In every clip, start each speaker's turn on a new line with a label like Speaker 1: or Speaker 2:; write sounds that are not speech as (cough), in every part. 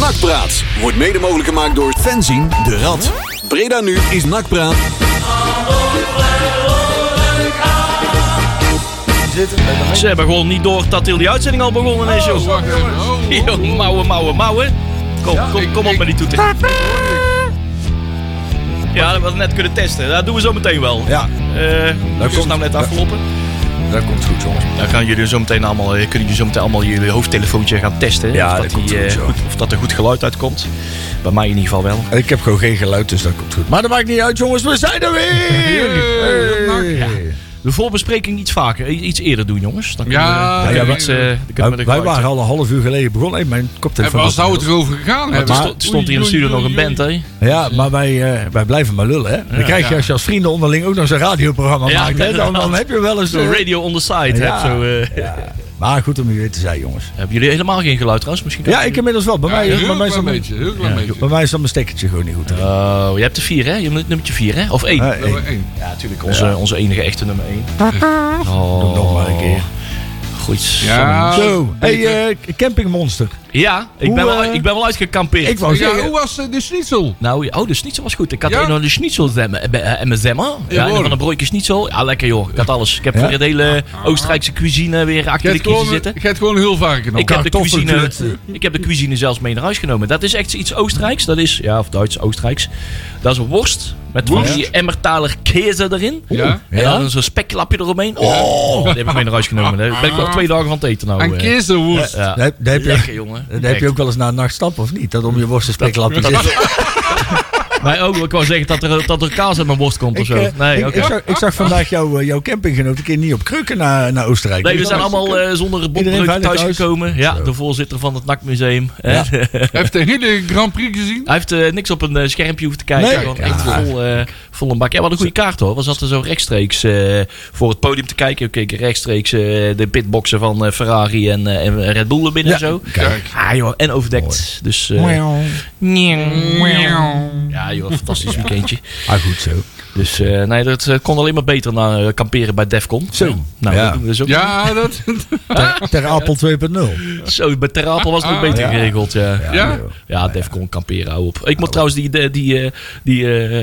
Speaker 1: Nakpraat wordt mede mogelijk gemaakt door Fenzin de Rad. Breda nu is Nakpraat.
Speaker 2: Ze hebben gewoon niet door dat heel die uitzending al begonnen is, joh.
Speaker 3: Wacht even.
Speaker 2: (laughs)
Speaker 3: Oh,
Speaker 2: Yo, mouwen, mouwen, mouwen. Kom,
Speaker 3: Ja,
Speaker 2: kom,
Speaker 3: ik-
Speaker 2: kom op
Speaker 3: ik-
Speaker 2: met die toeter. Ja, dat we net kunnen testen. Dat doen we zo meteen wel.
Speaker 4: Ja,
Speaker 2: Eh, dat is
Speaker 4: komt-
Speaker 2: nou net
Speaker 4: dat-
Speaker 2: afgelopen.
Speaker 4: dat komt goed, jongens.
Speaker 2: Dan gaan jullie zo meteen allemaal, eh, kunnen jullie zo meteen allemaal jullie hoofdtelefoontje gaan testen.
Speaker 4: Ja,
Speaker 2: of,
Speaker 4: dat
Speaker 2: dat
Speaker 4: komt
Speaker 2: die,
Speaker 4: goed,
Speaker 2: eh,
Speaker 4: joh.
Speaker 2: goed, of dat er goed geluid uitkomt. Bij mij in ieder geval wel.
Speaker 4: En ik heb gewoon geen geluid, dus dat komt goed. Maar dat maakt niet uit, jongens. We zijn er weer! Hey.
Speaker 2: De voorbespreking iets vaker, i- iets eerder doen jongens. Dan kunnen
Speaker 3: Ja,
Speaker 2: we, dan
Speaker 4: ja,
Speaker 2: kunnen we
Speaker 4: wij-
Speaker 2: iets, eh, dan kunnen we
Speaker 4: Wij,
Speaker 2: de
Speaker 4: wij
Speaker 2: geluid-
Speaker 4: waren al een half uur geleden begonnen. Hey, mijn
Speaker 3: En
Speaker 4: koptelefoon
Speaker 3: waar
Speaker 4: was-
Speaker 3: zou het erover gegaan
Speaker 2: Er
Speaker 3: hebben?
Speaker 2: stond- er stond hier in de
Speaker 3: Oei,
Speaker 2: studio nog
Speaker 3: oei,
Speaker 2: een
Speaker 3: oei.
Speaker 2: band, hè?
Speaker 4: Ja, maar wij, eh, wij blijven maar lullen, hè? dan krijg je
Speaker 3: ja.
Speaker 4: als je als vrienden onderling ook nog zo'n radioprogramma
Speaker 2: Ja,
Speaker 4: maakt, hè? Dan, dan
Speaker 2: inderdaad.
Speaker 4: heb je wel eens...
Speaker 2: Zo'n radio on the side. hè,
Speaker 4: Ja.
Speaker 2: Zo, eh.
Speaker 4: Ja. Maar goed om je weer te zijn, jongens.
Speaker 2: Hebben jullie helemaal geen geluid trouwens? Misschien kan-
Speaker 4: Ja, ik inmiddels wel. Bij,
Speaker 3: Ja,
Speaker 4: mij,
Speaker 3: een
Speaker 4: bij,
Speaker 3: heel
Speaker 4: mij is
Speaker 3: klein
Speaker 4: dan,
Speaker 3: beetje, heel klein beetje.
Speaker 4: bij mij is dan mijn stekkertje gewoon niet goed.
Speaker 2: Oh, je hebt er vier, hè? Je hebt nummertje vier, hè? Of één.
Speaker 4: Eh, eh,
Speaker 3: Nummer één.
Speaker 2: ja, natuurlijk. Onze, onze enige echte nummer
Speaker 4: (laughs)
Speaker 2: één. Oh.
Speaker 4: Doe nog maar een keer.
Speaker 2: Goed.
Speaker 3: Ja,
Speaker 4: Zo, hey, eh Camping Monster.
Speaker 2: Ja, ik,
Speaker 4: Hoe,
Speaker 2: ben wel,
Speaker 4: eh,
Speaker 2: ik ben wel uitgekampeerd.
Speaker 4: Ik wou
Speaker 3: ja,
Speaker 4: zeggen...
Speaker 3: hoe was eh, de schnitzel?
Speaker 2: Nou, ja, oh, de schnitzel was goed. Ik had
Speaker 3: Ja?
Speaker 2: een van de schnitzel zemmen- eh, be- eh, en mijn zemmen. Ja, en
Speaker 3: hoor.
Speaker 2: van de broodjes schnitzel. Ja, lekker joh. Ik had alles. Ik heb
Speaker 4: Ja?
Speaker 2: weer de hele Oostenrijkse cuisine weer
Speaker 3: Je
Speaker 2: achter de
Speaker 3: hebt
Speaker 2: kiezen
Speaker 3: gewoon,
Speaker 2: zitten.
Speaker 3: je hebt gewoon heel vaak genomen.
Speaker 2: Ik heb, de
Speaker 4: Nou, kartoffel
Speaker 2: cuisine,
Speaker 4: natuurlijk.
Speaker 2: ik heb de cuisine zelfs mee naar huis genomen. Dat is echt iets Oostenrijks. Dat is, ja, of Duits, Oostenrijks. Dat is een worst met van
Speaker 3: Worst.
Speaker 2: die emmertaler keze erin.
Speaker 3: Ja.
Speaker 2: En
Speaker 4: Ja.
Speaker 2: dan zo'n speklapje eromheen. Oh, dat heb ik mee naar huis genomen. Daar ben ik wel twee dagen van het eten nou.
Speaker 3: Een
Speaker 2: eh.
Speaker 3: keesterwoest.
Speaker 2: Ja.
Speaker 4: Daar heb- daar heb je-
Speaker 2: Lekker, jongen.
Speaker 4: Dan heb
Speaker 2: Echt.
Speaker 4: je ook wel eens na een nacht stappen, of niet? Dat om je worst een speklapje zit.
Speaker 2: Maar ook, ik wou zeggen dat er, dat er kaas uit mijn worst komt of
Speaker 4: Ik,
Speaker 2: zo.
Speaker 4: eh,
Speaker 2: Nee,
Speaker 4: ik,
Speaker 2: oké.
Speaker 4: ik, zag, ik zag vandaag jou, eh, jouw campinggenoot een keer niet op krukken naar, naar Oostenrijk.
Speaker 2: Nee, we
Speaker 4: Dus
Speaker 2: zijn
Speaker 4: dat is-
Speaker 2: allemaal eh, zonder botbreuk
Speaker 4: veilig thuis?
Speaker 2: thuisgekomen. Ja, de voorzitter van het NAC-museum.
Speaker 4: Ja.
Speaker 3: (laughs) Heeft de hele Grand Prix gezien?
Speaker 2: Hij heeft eh, niks op een eh, schermpje hoeven te kijken.
Speaker 4: Nee.
Speaker 2: Gewoon
Speaker 4: Ja.
Speaker 2: echt vol, eh, vol een bak. Ja, wat een goede kaart hoor. We zaten zo rechtstreeks eh, voor het podium te kijken. We keken rechtstreeks eh, de pitboxen van eh, Ferrari en, eh, en Red Bull er binnen en zo.
Speaker 4: Kijk.
Speaker 2: Ah joh, en overdekt. Dus eh, ja joh, fantastisch weekendje.
Speaker 4: Ah, goed zo.
Speaker 2: Dus eh, nee, dat eh, kon alleen maar beter na eh, kamperen bij Defcon.
Speaker 4: Zo.
Speaker 2: Nou,
Speaker 4: Ja.
Speaker 2: dat doen we dus ook.
Speaker 3: Ja, dat...
Speaker 4: Ter, ter Apel 2.0.
Speaker 2: Zo, bij Ter Apel was het nog beter
Speaker 4: Ja.
Speaker 2: geregeld. Ja. Ja.
Speaker 3: Ja?
Speaker 4: Nou
Speaker 2: Defcon kamperen, hou op. Ik moet trouwens die... die, die, eh, die eh,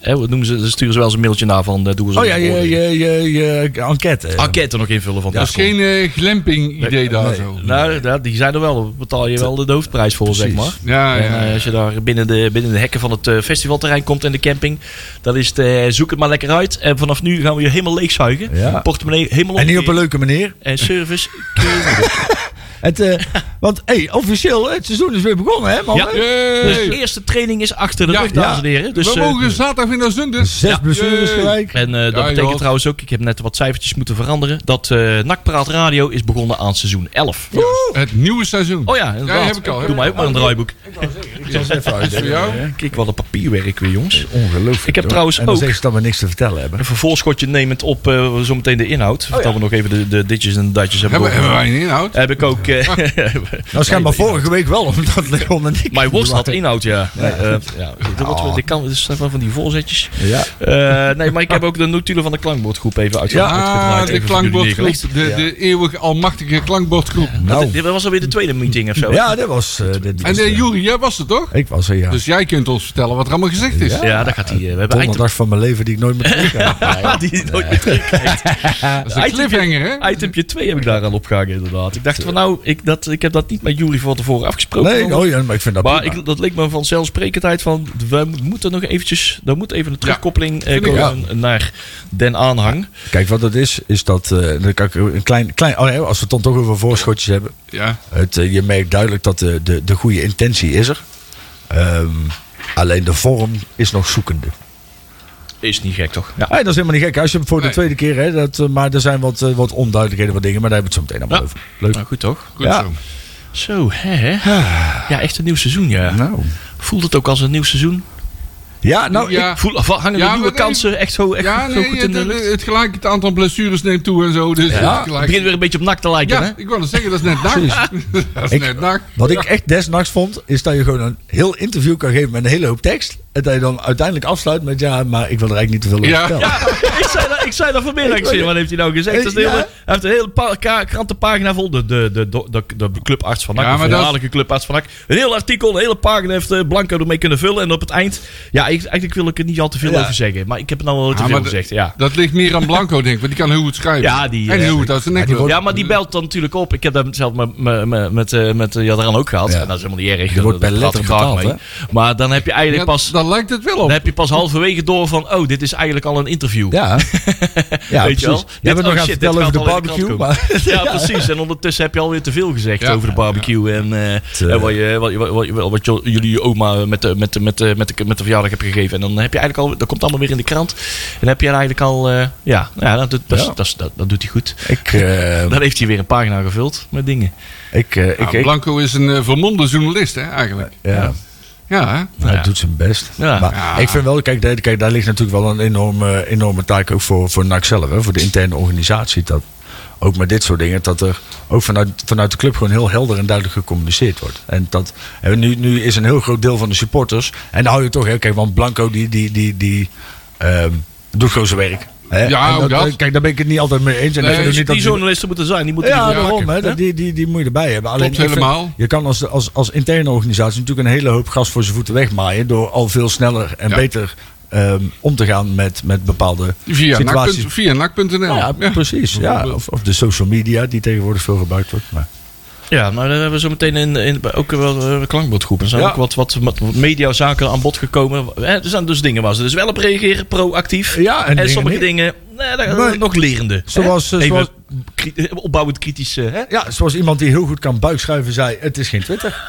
Speaker 2: eh, wat noemen ze, ze sturen ze wel eens een mailtje naar van... eh, Doe eens
Speaker 4: Oh
Speaker 2: een
Speaker 4: ja, je,
Speaker 2: beoordeling.
Speaker 4: je, je, je enquête. eh.
Speaker 2: Enquête nog invullen van
Speaker 3: Dat is
Speaker 2: Defcon.
Speaker 3: geen eh, glamping-idee daar zo.
Speaker 2: Nou, ja, die zijn er wel. Daar betaal je wel de hoofdprijs voor, zeg
Speaker 4: Precies.
Speaker 2: maar.
Speaker 3: Ja,
Speaker 2: En
Speaker 3: ja.
Speaker 2: eh, als je daar binnen de, binnen de hekken van het eh, festivalterrein komt en de camping, dan is het eh, zoek het maar lekker uit. En vanaf nu gaan we je helemaal leegzuigen.
Speaker 4: Ja.
Speaker 2: Portemonnee helemaal
Speaker 4: En niet op
Speaker 2: omkeer.
Speaker 4: een leuke manier. (laughs)
Speaker 2: En service.
Speaker 4: Het, (laughs) eh, want hey, officieel, het seizoen is weer begonnen, hè man?
Speaker 2: Ja.
Speaker 3: Yay.
Speaker 2: De Dus eerste training is achter de
Speaker 3: Ja.
Speaker 2: rug, dames en
Speaker 4: Ja.
Speaker 2: heren. Dus,
Speaker 3: we
Speaker 2: eh,
Speaker 3: mogen zaterdag weer naar Zundert.
Speaker 4: Zes
Speaker 3: Ja.
Speaker 4: blessures
Speaker 3: Yay.
Speaker 4: gelijk.
Speaker 2: en eh, dat
Speaker 3: Ja,
Speaker 2: betekent
Speaker 3: joh.
Speaker 2: trouwens ook, ik heb net wat cijfertjes moeten veranderen, dat eh Nakpraat Radio is begonnen aan seizoen 11.
Speaker 3: Het nieuwe seizoen.
Speaker 2: Oh ja, inderdaad.
Speaker 3: heb ik al, heb
Speaker 2: Doe
Speaker 3: ik
Speaker 2: mij ook maar een draaiboek.
Speaker 3: Dat is voor jou.
Speaker 2: Kijk, wat een papierwerk weer, jongens.
Speaker 4: Ongelooflijk.
Speaker 2: Ik heb
Speaker 4: hoor.
Speaker 2: trouwens
Speaker 4: en dan
Speaker 2: ook-
Speaker 4: zeggen ze dat we niks te vertellen hebben.
Speaker 2: Een vervolgschotje nemend op eh, zometeen de inhoud. Vertel we nog even de, de ditjes en de datjes hebben,
Speaker 3: Oh Hebben, hebben
Speaker 2: doorgegaan.
Speaker 3: wij een inhoud?
Speaker 2: Heb ik ook... eh, (laughs)
Speaker 4: Nou, schijnbaar vorige week wel, (laughs) omdat Leon en ik...
Speaker 2: Mijn worst had inhoud, ja. Nee, eh, ja. Dat wordt wel-
Speaker 3: Oh.
Speaker 2: dit kan, dit zijn wel van die voorzetjes.
Speaker 4: Ja.
Speaker 2: Eh, nee, maar ik heb ook de notulen van de klankbordgroep even uitge-
Speaker 3: Ja,
Speaker 2: uitgedraaid.
Speaker 3: Ah, de
Speaker 2: even voor jullie
Speaker 3: klankbordgroep. Nou.
Speaker 2: neergelegd.
Speaker 3: De, de eeuwig almachtige klankbordgroep.
Speaker 2: Dat,
Speaker 4: Nou,
Speaker 2: dit oh. was alweer de tweede meeting of zo.
Speaker 4: ja, dat was... eh, dit
Speaker 3: En
Speaker 4: was,
Speaker 3: eh
Speaker 4: eh,
Speaker 3: Juri, jij was het toch?
Speaker 4: Ik was er, ja.
Speaker 3: Dus jij kunt ons vertellen wat er allemaal gezegd is.
Speaker 2: Ja, daar gaat hij. eh, We hebben item,
Speaker 4: Donderdag van mijn leven die ik
Speaker 2: (laughs)
Speaker 4: nooit meer terug heb.
Speaker 2: die hij nooit meer terugkrijgt.
Speaker 3: Dat is een
Speaker 2: Item-
Speaker 3: cliffhanger, hè?
Speaker 2: Itempje 2 heb ik daar aan opgehangen, inderdaad. Ik dacht van nou, ik, dat, ik heb dat niet met Jury van tevoren afgesproken.
Speaker 4: Nee, oh ja, maar ik vind dat
Speaker 2: maar
Speaker 4: prima.
Speaker 2: ik, dat leek me vanzelfsprekendheid van, we mo- moeten nog eventjes, daar moet even een terugkoppeling eh,
Speaker 3: vind ik
Speaker 2: komen naar den aanhang.
Speaker 4: Kijk, wat het is, is dat... eh, dan kan ik een klein, klein, oh, ja, als we het dan toch over voorschotjes hebben.
Speaker 3: Ja.
Speaker 4: Het, eh, je merkt duidelijk dat de, de, de goede intentie is er. Ehm, alleen de vorm is nog zoekende.
Speaker 2: Is niet gek toch? Ja.
Speaker 4: Hey, dat is helemaal niet gek. Als je hem voor de
Speaker 3: Nee.
Speaker 4: tweede keer... Hè, dat, eh, maar er zijn wat, eh, wat onduidelijkheden, wat dingen. Maar daar hebben we het zo meteen allemaal over. Leuk.
Speaker 2: Nou, goed toch?
Speaker 3: Goed
Speaker 4: Ja.
Speaker 3: zo.
Speaker 2: Zo, hè? hè? Ja, echt een nieuw seizoen, ja.
Speaker 4: Nou.
Speaker 2: Voelt het ook als een nieuw seizoen?
Speaker 4: Ja, nou... ik-
Speaker 3: Ja.
Speaker 2: Voel, hangen de
Speaker 3: Ja,
Speaker 2: nieuwe
Speaker 3: maar nee.
Speaker 2: kansen echt zo, echt
Speaker 3: Ja,
Speaker 2: zo
Speaker 3: nee,
Speaker 2: goed in de
Speaker 3: het,
Speaker 2: lucht?
Speaker 3: het gelijk het aantal blessures neemt toe en zo. Dus
Speaker 2: Ja,
Speaker 3: het
Speaker 2: het
Speaker 3: gelijk-
Speaker 2: begint weer een beetje op nak te lijken, hè?
Speaker 3: ja ik wou het zeggen, dat is net dag. (laughs) dat is
Speaker 4: Ik-
Speaker 3: net dag.
Speaker 4: Wat ik echt desnachts vond, is dat je gewoon een heel interview kan geven met een hele hoop tekst. En dat je dan uiteindelijk afsluit met ja, maar ik wil er eigenlijk niet te veel over
Speaker 3: Ja.
Speaker 4: vertellen.
Speaker 2: Ja, (laughs) ik zei dat, ik zei dat vanmiddag. Ik zei, wat heeft hij nou gezegd? Dat is de
Speaker 4: Ja.
Speaker 2: hele, hij heeft een hele pa- ka- krantenpagina vol. De, de, de, de, de, de clubarts van NAC,
Speaker 3: Ja,
Speaker 2: de
Speaker 3: maar dat-
Speaker 2: voormalige clubarts van NAC. Een heel artikel, een hele pagina heeft eh, Blanco ermee kunnen vullen. En op het eind, ja, ik, eigenlijk wil ik er niet al te veel
Speaker 4: Ja.
Speaker 2: over zeggen. Maar ik heb er nou wel te
Speaker 3: Ah,
Speaker 2: veel
Speaker 3: maar
Speaker 2: gezegd, ja.
Speaker 3: Dat ligt meer aan Blanco, denk ik. Want die kan heel goed schrijven.
Speaker 2: Ja, die,
Speaker 3: en
Speaker 2: eh,
Speaker 3: heel goed uit zijn nek. lul.
Speaker 2: Ja, maar die belt dan natuurlijk op. Ik heb dat zelf met, met, met, met, eh, met eh, Jadran ook gehad.
Speaker 4: Ja.
Speaker 2: En dat is helemaal niet erg.
Speaker 4: Je wordt
Speaker 2: Dat-
Speaker 4: per
Speaker 2: dat
Speaker 4: letter
Speaker 2: gaat graag
Speaker 4: betaald,
Speaker 2: Maar dan heb je eigenlijk
Speaker 3: Ja,
Speaker 2: pas...
Speaker 3: Daar lijkt het wel op.
Speaker 2: Dan heb je pas halverwege door van, oh, dit is eigenlijk al een interview. (laughs)
Speaker 4: Ja, ja
Speaker 2: Weet je wel?
Speaker 4: precies.
Speaker 2: Dit-
Speaker 4: Je hebt het
Speaker 2: oh
Speaker 4: nog aan
Speaker 2: shit,
Speaker 4: het
Speaker 2: dit
Speaker 4: vertellen over de
Speaker 2: gaat al in de
Speaker 4: barbecue.
Speaker 2: krant
Speaker 4: Maar,
Speaker 2: (laughs) Ja, precies. En ondertussen heb je alweer te veel gezegd
Speaker 3: Ja.
Speaker 2: over de barbecue. En, eh,
Speaker 4: eh,
Speaker 2: en wat, je, wat, je- wat, je- wat, je- jullie je oma met de, met, de, met, de, met, de, met de verjaardag hebt gegeven. En dan heb je eigenlijk al, dat komt allemaal weer in de krant. En dan heb je eigenlijk al, eh, ja, nou ja, dat, doet- dat, is-
Speaker 4: Ja.
Speaker 2: dat, is- dat, dat doet hij
Speaker 4: (laughs)
Speaker 2: goed.
Speaker 4: ik, eh,
Speaker 2: Dan heeft hij weer een pagina gevuld met dingen.
Speaker 4: ik, eh, ik,
Speaker 3: Ja,
Speaker 4: ik-
Speaker 3: Blanco is een eh, vermomde journalist, hè, eigenlijk.
Speaker 4: ja.
Speaker 3: Ja, hè?
Speaker 4: Nou,
Speaker 2: Ja.
Speaker 4: Hij doet zijn best.
Speaker 2: Ja.
Speaker 4: Maar
Speaker 3: Ja.
Speaker 4: ik vind wel, kijk, daar- kijk, daar ligt natuurlijk wel een enorme, enorme taak ook voor, voor NAC zelf. Hè, voor de interne organisatie. Dat ook met dit soort dingen, dat er ook vanuit, vanuit de club gewoon heel helder en duidelijk gecommuniceerd wordt. En, dat, en nu, nu is een heel groot deel van de supporters. En dan hou je toch, hè, kijk, want Blanco die, die, die, die ehm, doet gewoon zijn werk. Hè.
Speaker 3: Ja,
Speaker 4: En eh,
Speaker 3: ook dat.
Speaker 4: Kijk, daar ben ik het niet altijd mee eens. En
Speaker 3: Nee,
Speaker 4: ik vind ook
Speaker 2: Dus
Speaker 4: niet
Speaker 2: die
Speaker 4: dat die-
Speaker 2: journalisten moeten zijn. Die moeten
Speaker 4: ja,
Speaker 2: die-
Speaker 3: maken,
Speaker 4: daarom. Hè? Dat- Die, die, die moet je erbij hebben. Alleen,
Speaker 3: Klopt
Speaker 4: ik vind-
Speaker 3: helemaal.
Speaker 4: je kan als, als, als interne organisatie natuurlijk een hele hoop gas voor zijn voeten wegmaaien. Door al veel sneller en
Speaker 3: Ja.
Speaker 4: beter ehm, om te gaan met, met bepaalde
Speaker 3: Via nak.nl.
Speaker 4: situaties. Nou
Speaker 3: Via nak.nl.
Speaker 2: Nou
Speaker 4: Ja, precies. Ja. Of, of de social media die tegenwoordig veel gebruikt wordt. Maar.
Speaker 2: Ja, maar daar hebben we zo meteen in, in, ook wel eh, een klankbordgroep. Er zijn
Speaker 4: Ja.
Speaker 2: ook wat, wat, wat mediazaken aan bod gekomen. Eh, Er zijn dus dingen waar ze dus wel op reageren, proactief.
Speaker 4: Ja, en
Speaker 2: en
Speaker 4: dingen
Speaker 2: sommige
Speaker 4: niet.
Speaker 2: dingen nee, daar-
Speaker 4: Maar-
Speaker 2: nog lerende.
Speaker 4: Zoals,
Speaker 2: Hè?
Speaker 4: eh,
Speaker 2: Even
Speaker 4: zoals-
Speaker 2: kri- eh, opbouwend kritisch. eh, Hè?
Speaker 4: Ja, zoals iemand die heel goed kan buikschuiven zei, het is geen Twitter.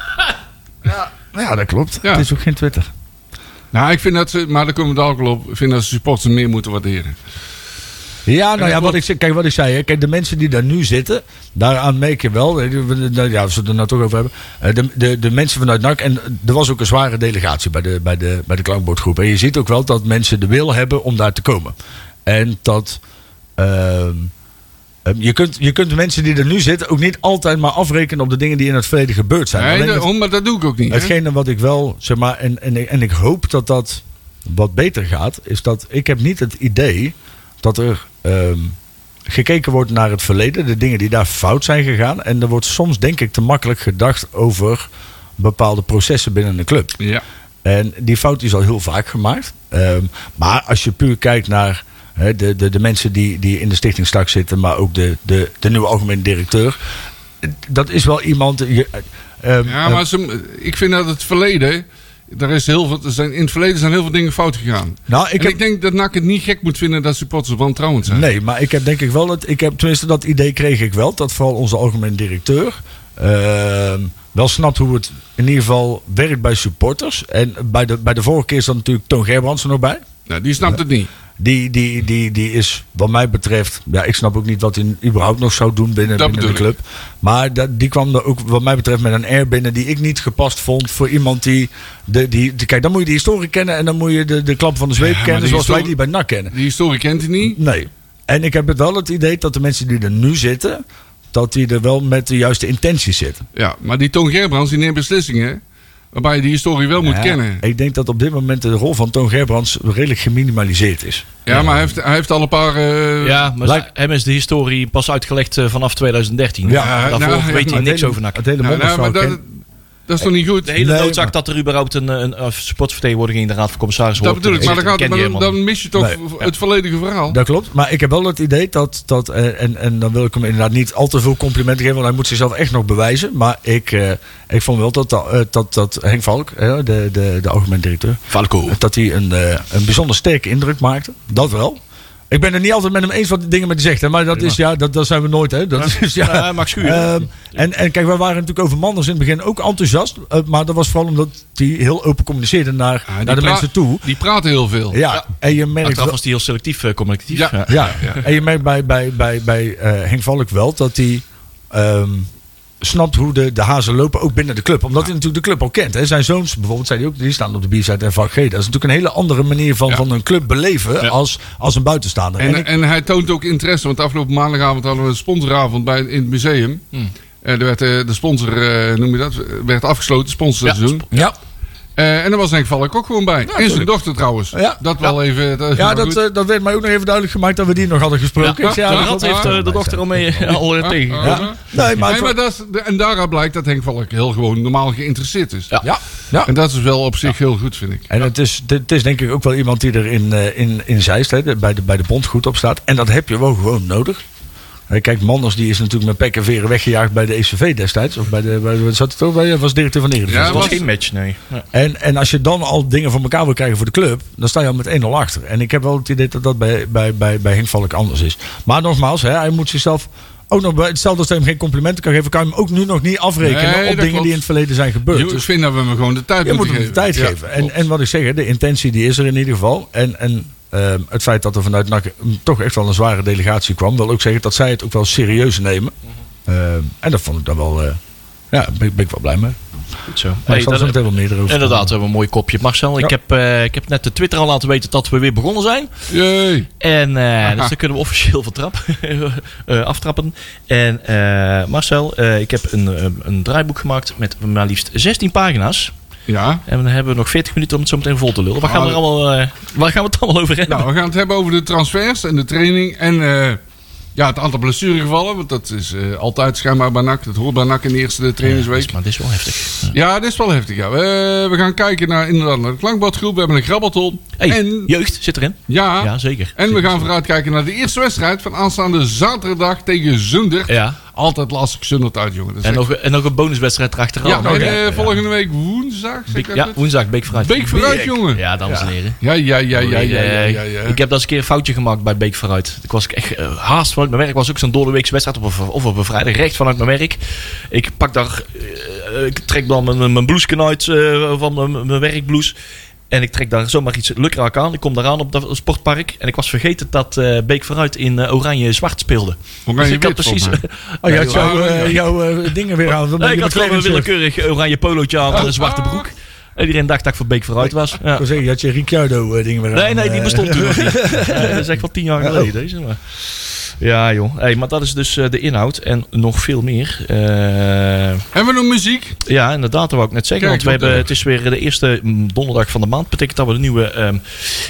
Speaker 4: Nou ja, ja, dat klopt.
Speaker 3: Ja.
Speaker 4: Het is ook geen Twitter.
Speaker 3: Nou, ik vind dat ze, maar daar komen we dadelijk wel op. Ik vind dat ze supporters meer moeten waarderen.
Speaker 4: Ja, nou ja,
Speaker 3: klopt.
Speaker 4: wat ik, ze- kijk wat ik zei. hè. Kijk, de mensen die daar nu zitten, daaraan merk je wel. eh, we- nou Ja, als we het er nou toch over hebben. eh, De, de, de mensen vanuit NAC. En er was ook een zware delegatie bij de, bij de, bij de klankbordgroep. En je ziet ook wel dat mensen de wil hebben om daar te komen. En dat. ehm, ehm, je, kunt, je kunt de mensen die er nu zitten ook niet altijd maar afrekenen op de dingen die in het verleden gebeurd zijn.
Speaker 3: Nee,
Speaker 4: Alleen het-
Speaker 3: daarom, maar dat doe ik ook niet. hè.
Speaker 4: Hetgene wat ik wel, zeg maar, en, en, en ik hoop dat dat wat beter gaat, is dat ik heb niet het idee dat er ehm, gekeken wordt naar het verleden, de dingen die daar fout zijn gegaan. En er wordt soms, denk ik, te makkelijk gedacht over bepaalde processen binnen de club.
Speaker 3: Ja.
Speaker 4: En die fout is al heel vaak gemaakt. Ehm, maar als je puur kijkt naar hè, de, de, de mensen die, die in de stichting straks zitten, maar ook de, de, de nieuwe algemene directeur. Dat is wel iemand. Je, ehm,
Speaker 3: Ja, maar ze, ik vind dat het verleden. Daar is heel veel, er zijn, in het verleden zijn heel veel dingen fout gegaan.
Speaker 4: Nou, ik
Speaker 3: en
Speaker 4: heb-
Speaker 3: ik denk dat NAC het niet gek moet vinden dat supporters wantrouwend zijn.
Speaker 4: Nee, maar ik heb denk ik wel het. Ik heb, tenminste, dat idee kreeg ik wel. Dat vooral onze algemeen directeur. ehm, wel snapt hoe het in ieder geval werkt bij supporters. En bij de, bij de vorige keer zat natuurlijk Toon Gerbrands er nog bij.
Speaker 3: Nou, die snapt het niet.
Speaker 4: Die, die, die, die is, wat mij betreft. Ja, ik snap ook niet wat hij überhaupt nog zou doen binnen,
Speaker 3: Dat
Speaker 4: binnen de
Speaker 3: bedoel ik.
Speaker 4: club. Maar dat, die kwam er ook, wat mij betreft, met een air binnen die ik niet gepast vond. Voor iemand die. De, die, die- kijk, dan moet je de historie kennen en dan moet je de, de klap van de zweep
Speaker 3: maar
Speaker 4: kennen.
Speaker 3: die
Speaker 4: Zoals wij die
Speaker 3: historie-
Speaker 4: bij NAC kennen.
Speaker 3: Die historie kent hij niet.
Speaker 4: Nee. En ik heb het wel het idee dat de mensen die er nu zitten, dat die er wel met de juiste intenties zitten.
Speaker 3: Ja, maar die Toon Gerbrands die neemt beslissingen. Waarbij je die historie wel moet
Speaker 4: Ja,
Speaker 3: kennen.
Speaker 4: Ik denk dat op dit moment de rol van Toon Gerbrands redelijk geminimaliseerd is.
Speaker 3: Ja, maar hij heeft, hij heeft al een paar. eh,
Speaker 2: Ja, maar
Speaker 4: Lijkt-
Speaker 2: hem is de historie pas uitgelegd eh, vanaf 2013.
Speaker 4: Ja,
Speaker 2: Daarvoor
Speaker 3: nou, ja,
Speaker 2: weet
Speaker 3: maar
Speaker 2: hij niks
Speaker 4: hele,
Speaker 2: over NAC.
Speaker 4: Het hele
Speaker 3: nou, nou, maar
Speaker 4: Mondersvrouw
Speaker 3: dat,
Speaker 4: ken-
Speaker 3: dat is toch niet goed?
Speaker 2: De hele
Speaker 4: Nee,
Speaker 2: noodzaak
Speaker 4: maar-
Speaker 2: dat er überhaupt een, een, een sportvertegenwoordiger in de Raad van Commissarissen
Speaker 3: Dat
Speaker 2: hoort.
Speaker 3: bedoel ik, maar dan, gaat,
Speaker 2: ken
Speaker 3: maar
Speaker 2: je
Speaker 3: dan,
Speaker 2: helemaal
Speaker 3: dan mis je toch
Speaker 4: Nee,
Speaker 3: het volledige verhaal.
Speaker 4: dat klopt, maar ik heb wel het idee dat, dat eh, en, en dan wil ik hem inderdaad niet al te veel complimenten geven, want hij moet zichzelf echt nog bewijzen. Maar ik, eh, ik vond wel dat, dat, eh, dat, dat Henk Valk, eh, de, de, de algemeen directeur,
Speaker 2: niet.
Speaker 4: (laughs)
Speaker 2: Falco.
Speaker 4: Dat hij een, eh, een bijzonder sterke indruk maakte. Dat wel. Ik ben het niet altijd met hem eens wat de dingen met hij zegt. Hè, maar dat, is, ja, dat, dat zijn we nooit. Hè. Dat is, Dus ja.
Speaker 2: Ja, eh, hij mag schuren.
Speaker 4: Ehm, en, en kijk, wij waren natuurlijk over Manders in het begin ook enthousiast. eh, maar dat was vooral omdat hij heel open communiceerde naar,
Speaker 3: Ja,
Speaker 4: naar de
Speaker 3: pra-
Speaker 4: mensen toe.
Speaker 3: Die praten heel veel.
Speaker 4: Ja, en je merkt
Speaker 2: Achteraf
Speaker 4: wel-
Speaker 2: was hij heel selectief eh, communicatief.
Speaker 3: Ja.
Speaker 4: ja. En je merkt bij, bij, bij, bij eh, Henk Valk wel dat hij ehm, snapt hoe de, de hazen lopen, ook binnen de club. Omdat hij natuurlijk de club al kent. Hè. Zijn zoons bijvoorbeeld, zei hij ook, die staan op de bierzijde en vak G. Dat is natuurlijk een hele andere manier van,
Speaker 3: Ja.
Speaker 4: van een club beleven als, als een buitenstaander.
Speaker 3: En,
Speaker 4: En ik-
Speaker 3: en hij toont ook interesse, want afgelopen maandagavond hadden we een sponsoravond bij, in het museum.
Speaker 4: Hmm.
Speaker 3: eh, En er werd eh, de sponsor, eh, noem je dat, werd afgesloten, sponsorseizoen.
Speaker 4: ja,
Speaker 3: Eh, en daar was Henk Valk ook gewoon bij. en zijn
Speaker 4: tuurlijk.
Speaker 3: dochter trouwens.
Speaker 4: Ja.
Speaker 3: Dat wel even. Dat,
Speaker 4: Ja,
Speaker 3: maar
Speaker 4: dat,
Speaker 3: goed.
Speaker 4: eh, dat werd mij ook nog even duidelijk gemaakt dat we die nog hadden gesproken.
Speaker 3: Ja.
Speaker 4: Ik zei,
Speaker 3: Ja,
Speaker 4: dat
Speaker 2: Rad
Speaker 4: klopt.
Speaker 2: heeft eh, de dochter al mee al eh,
Speaker 3: Ah,
Speaker 2: tegengekomen.
Speaker 3: ah, ah.
Speaker 4: Nee, maar...
Speaker 3: Nee, maar dat is, de- en daaruit blijkt dat Henk Valk heel gewoon normaal geïnteresseerd is.
Speaker 2: Ja.
Speaker 4: Ja, ja.
Speaker 3: En dat is wel op zich heel goed, vind ik.
Speaker 4: En het is, het is denk ik ook wel iemand die er in, eh, in, in Zeist, hè, de- bij, de, bij de bond goed op staat. En dat heb je wel gewoon nodig. Hè, Kijk, Manders die is natuurlijk met pek en veren weggejaagd bij de ECV destijds. Of bij de, bij, wat zat het ook bij? Was directeur van de Eredivisie.
Speaker 3: Ja,
Speaker 2: Dat was
Speaker 3: was-
Speaker 2: geen match, nee. Ja.
Speaker 4: En, en als je dan al dingen van elkaar wil krijgen voor de club, dan sta je al met 1-0 achter. En ik heb wel het idee dat dat bij, bij, bij, bij Henk Valk anders is. Maar nogmaals, hè, hij moet zichzelf ook nog... bij- Stel dat hij hem geen complimenten kan geven, kan je hem ook nu nog niet afrekenen
Speaker 3: Nee,
Speaker 4: op
Speaker 3: dat
Speaker 4: dingen
Speaker 3: klopt.
Speaker 4: die in het verleden zijn gebeurd.
Speaker 3: Ik
Speaker 4: Dus
Speaker 3: vind dat we hem gewoon de tijd
Speaker 4: je moet
Speaker 3: moeten
Speaker 4: hem
Speaker 3: geven.
Speaker 4: de tijd
Speaker 3: Ja,
Speaker 4: geven. En,
Speaker 3: klopt.
Speaker 4: en wat ik zeg, hè, de intentie die is er in ieder geval. En, en ehm, het feit dat er vanuit NAC toch echt wel een zware delegatie kwam... wil ook zeggen dat zij het ook wel serieus nemen. Ehm, en dat vond ik dan wel... eh, ja, daar ben, ben ik wel blij mee.
Speaker 2: Goed zo.
Speaker 4: En
Speaker 2: Hey,
Speaker 4: ik zal er
Speaker 2: dat-
Speaker 4: zo meteen wel meer over
Speaker 2: Inderdaad, we hebben een mooi kopje. Marcel, ik,
Speaker 4: Ja.
Speaker 2: heb, eh, ik heb net de Twitter al laten weten dat we weer begonnen zijn.
Speaker 3: Jee.
Speaker 2: En eh, dus dan kunnen we officieel vertrap, (laughs) eh, aftrappen. En eh, Marcel, eh, ik heb een, eh, een draaiboek gemaakt met maar liefst 16 pagina's.
Speaker 3: Ja.
Speaker 2: En dan hebben we nog 40 minuten om het zo meteen vol te lullen. Waar gaan we, er
Speaker 3: Ah,
Speaker 2: allemaal, eh, waar gaan we het allemaal over hebben?
Speaker 3: Nou, we gaan het hebben over de transfers en de training. En eh, ja, het aantal blessuregevallen. Want dat is eh, altijd schijnbaar bij NAC. Dat hoort bij NAC in de eerste trainingsweek.
Speaker 2: maar dit is wel heftig.
Speaker 3: Ja, dit is wel heftig. Ja. We, we gaan kijken naar, inderdaad, naar de klankbadgroep. We hebben een grabbelton.
Speaker 2: Hey,
Speaker 3: en,
Speaker 2: jeugd zit erin.
Speaker 3: ja,
Speaker 2: Ja, zeker.
Speaker 3: en we
Speaker 2: Zeker.
Speaker 3: gaan vooruitkijken naar de eerste wedstrijd van aanstaande zaterdag tegen Zundert.
Speaker 2: Ja.
Speaker 3: Altijd lastig Zundert uit, jongen. Dat is
Speaker 2: En
Speaker 3: echt-
Speaker 2: nog, en nog een bonuswedstrijd erachteraan.
Speaker 3: ja, en,
Speaker 2: Ja,
Speaker 3: eh, volgende week woensdag. zeg
Speaker 2: Beek-
Speaker 3: ik dat
Speaker 2: ja,
Speaker 3: goed?
Speaker 2: woensdag, Beek vooruit.
Speaker 3: Beek vooruit, jongen.
Speaker 2: Ja, dames en heren.
Speaker 3: Ja, ja, ja, ja, ja, ja, ja, ja.
Speaker 2: Ik heb dat eens een keer een foutje gemaakt bij Beek vooruit. Ik was echt eh, haast vanuit mijn werk. was ook zo'n doordeweekse wedstrijd op een, of op een vrijdag. Recht vanuit mijn werk. Ik pak daar, eh, ik trek dan mijn, mijn blouse uit eh, van mijn, mijn werkblouse. En ik trek daar zomaar iets lukraak aan. Ik kom daar aan op dat sportpark. En ik was vergeten dat eh, Beek vooruit in eh, oranje-zwart speelde. Dus
Speaker 3: Oranje-wit,
Speaker 2: ik had precies...
Speaker 3: volgens
Speaker 2: (laughs)
Speaker 4: Oh, je had
Speaker 3: Ja,
Speaker 4: jouw,
Speaker 3: ja.
Speaker 4: eh, jouw eh, dingen weer aan.
Speaker 2: Nee, ik had gewoon een willekeurig oranje polootje aan en een zwarte broek. En iedereen dacht dat ik voor Beek vooruit was. Ja.
Speaker 4: Ik wil zeggen, je had je Ricciardo eh, dingen weer aan.
Speaker 2: Nee, nee, die
Speaker 4: eh.
Speaker 2: (laughs) bestond toen nog niet. Oh. Nee, dat is echt wel tien jaar geleden, deze. Maar. Ja, joh. Hey, maar dat is dus eh, de inhoud en nog veel meer. Eh,
Speaker 3: Hebben we nog muziek?
Speaker 2: ja, inderdaad, dat wou ik net zeggen.
Speaker 3: Kijk,
Speaker 2: want we
Speaker 3: wat eh,
Speaker 2: hebben,
Speaker 3: erg.
Speaker 2: het is weer de eerste mm, donderdag van de maand. Betekent dat we de nieuwe ehm,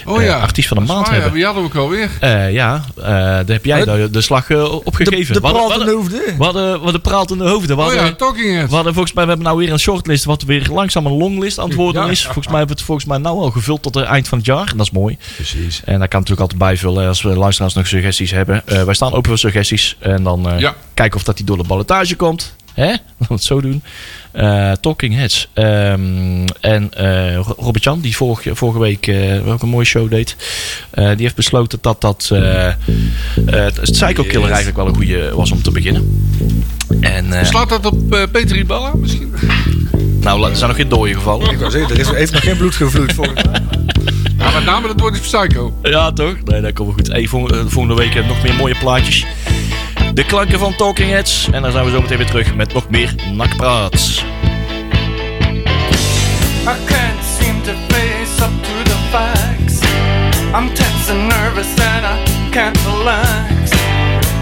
Speaker 3: Oh
Speaker 2: eh,
Speaker 3: ja.
Speaker 2: artiest van de
Speaker 3: Dat is
Speaker 2: maand
Speaker 3: waar, ja,
Speaker 2: hebben.
Speaker 3: die hadden we ook alweer.
Speaker 2: Eh, ja, eh, daar heb jij de, de slag eh, op
Speaker 4: De,
Speaker 2: gegeven.
Speaker 4: de
Speaker 2: We hadden- we
Speaker 4: pratende
Speaker 2: hadden-
Speaker 4: hoefde.
Speaker 2: we hadden- we hadden pratende hoofden. We
Speaker 3: Oh
Speaker 2: hadden-
Speaker 3: ja, Talking Heads.
Speaker 2: we hadden volgens mij, we hebben nou weer een shortlist, wat weer langzaam een longlist aan het worden
Speaker 4: Ja.
Speaker 2: is. Volgens mij hebben we het volgens mij nou al gevuld tot het eind van het jaar. En dat is mooi.
Speaker 4: Precies.
Speaker 2: En daar kan natuurlijk altijd bijvullen als we luisteraars nog suggesties hebben. Eh, wij staan open voor suggesties. En dan eh,
Speaker 3: Ja.
Speaker 2: kijken of dat die door de ballotage komt. Hè? (laughs) Laten we het zo doen. Eh, Talking Heads. Ehm, en eh, Ro- Robert Jan, die vorige, vorige week eh ook een mooie show deed. eh, die heeft besloten dat dat eh, eh, het Psycho Killer eigenlijk wel een goede was om te beginnen. En, eh,
Speaker 3: Slaat dat op eh Peter Iballa misschien?
Speaker 2: nou, la- er zijn nog geen dooien gevallen.
Speaker 4: Ik wou zeggen, er is, heeft nog geen bloed gevloeid voor. (laughs)
Speaker 3: Ja, met name dat wordt die psycho.
Speaker 2: Ja, toch? Nee, dat komt wel goed. Hey, vol- eh, volgende week hebben we nog meer mooie plaatjes. De klanken van Talking Heads. En dan zijn we zo meteen weer terug met nog meer nakpraat.
Speaker 5: I can't seem to face up to the facts. I'm tense and nervous and I can't relax.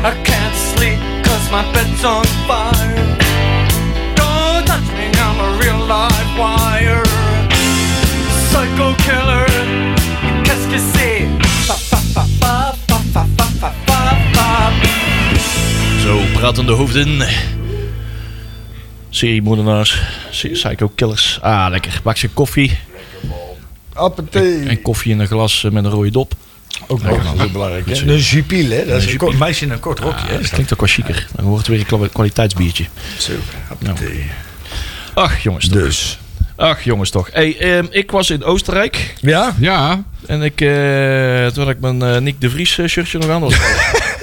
Speaker 5: I can't sleep cause my bed's on fire. Don't touch me, I'm a real live wire. Psycho killer, qu'est-ce que c'est? Fa, fa, fa, fa, fa, fa, fa, fa, fa, fa.
Speaker 2: Zo, pratende hoofden. Seriemoordenaars. se- Psycho-killers. Ah, lekker. Bak ze koffie.
Speaker 4: Appetee.
Speaker 2: En koffie in een glas eh, met een rode dop.
Speaker 4: Ook nog Oh, dat is belangrijk. hè. Een jupiel, hè? Dat is een kort Ah, meisje in een kort rokje. hè.
Speaker 2: Dat klinkt ook wel chiquer. Dan wordt het weer een kwa- kwaliteitsbiertje.
Speaker 3: Nou,
Speaker 4: Appetee.
Speaker 2: Ach, jongens toch.
Speaker 4: Dus.
Speaker 2: Ach, jongens toch. Hey, ehm, ik was in Oostenrijk.
Speaker 4: Ja?
Speaker 3: Ja,
Speaker 2: En ik, eh, toen had ik mijn eh, Nick de Vries eh, shirtje nog aan. Dat was, (laughs)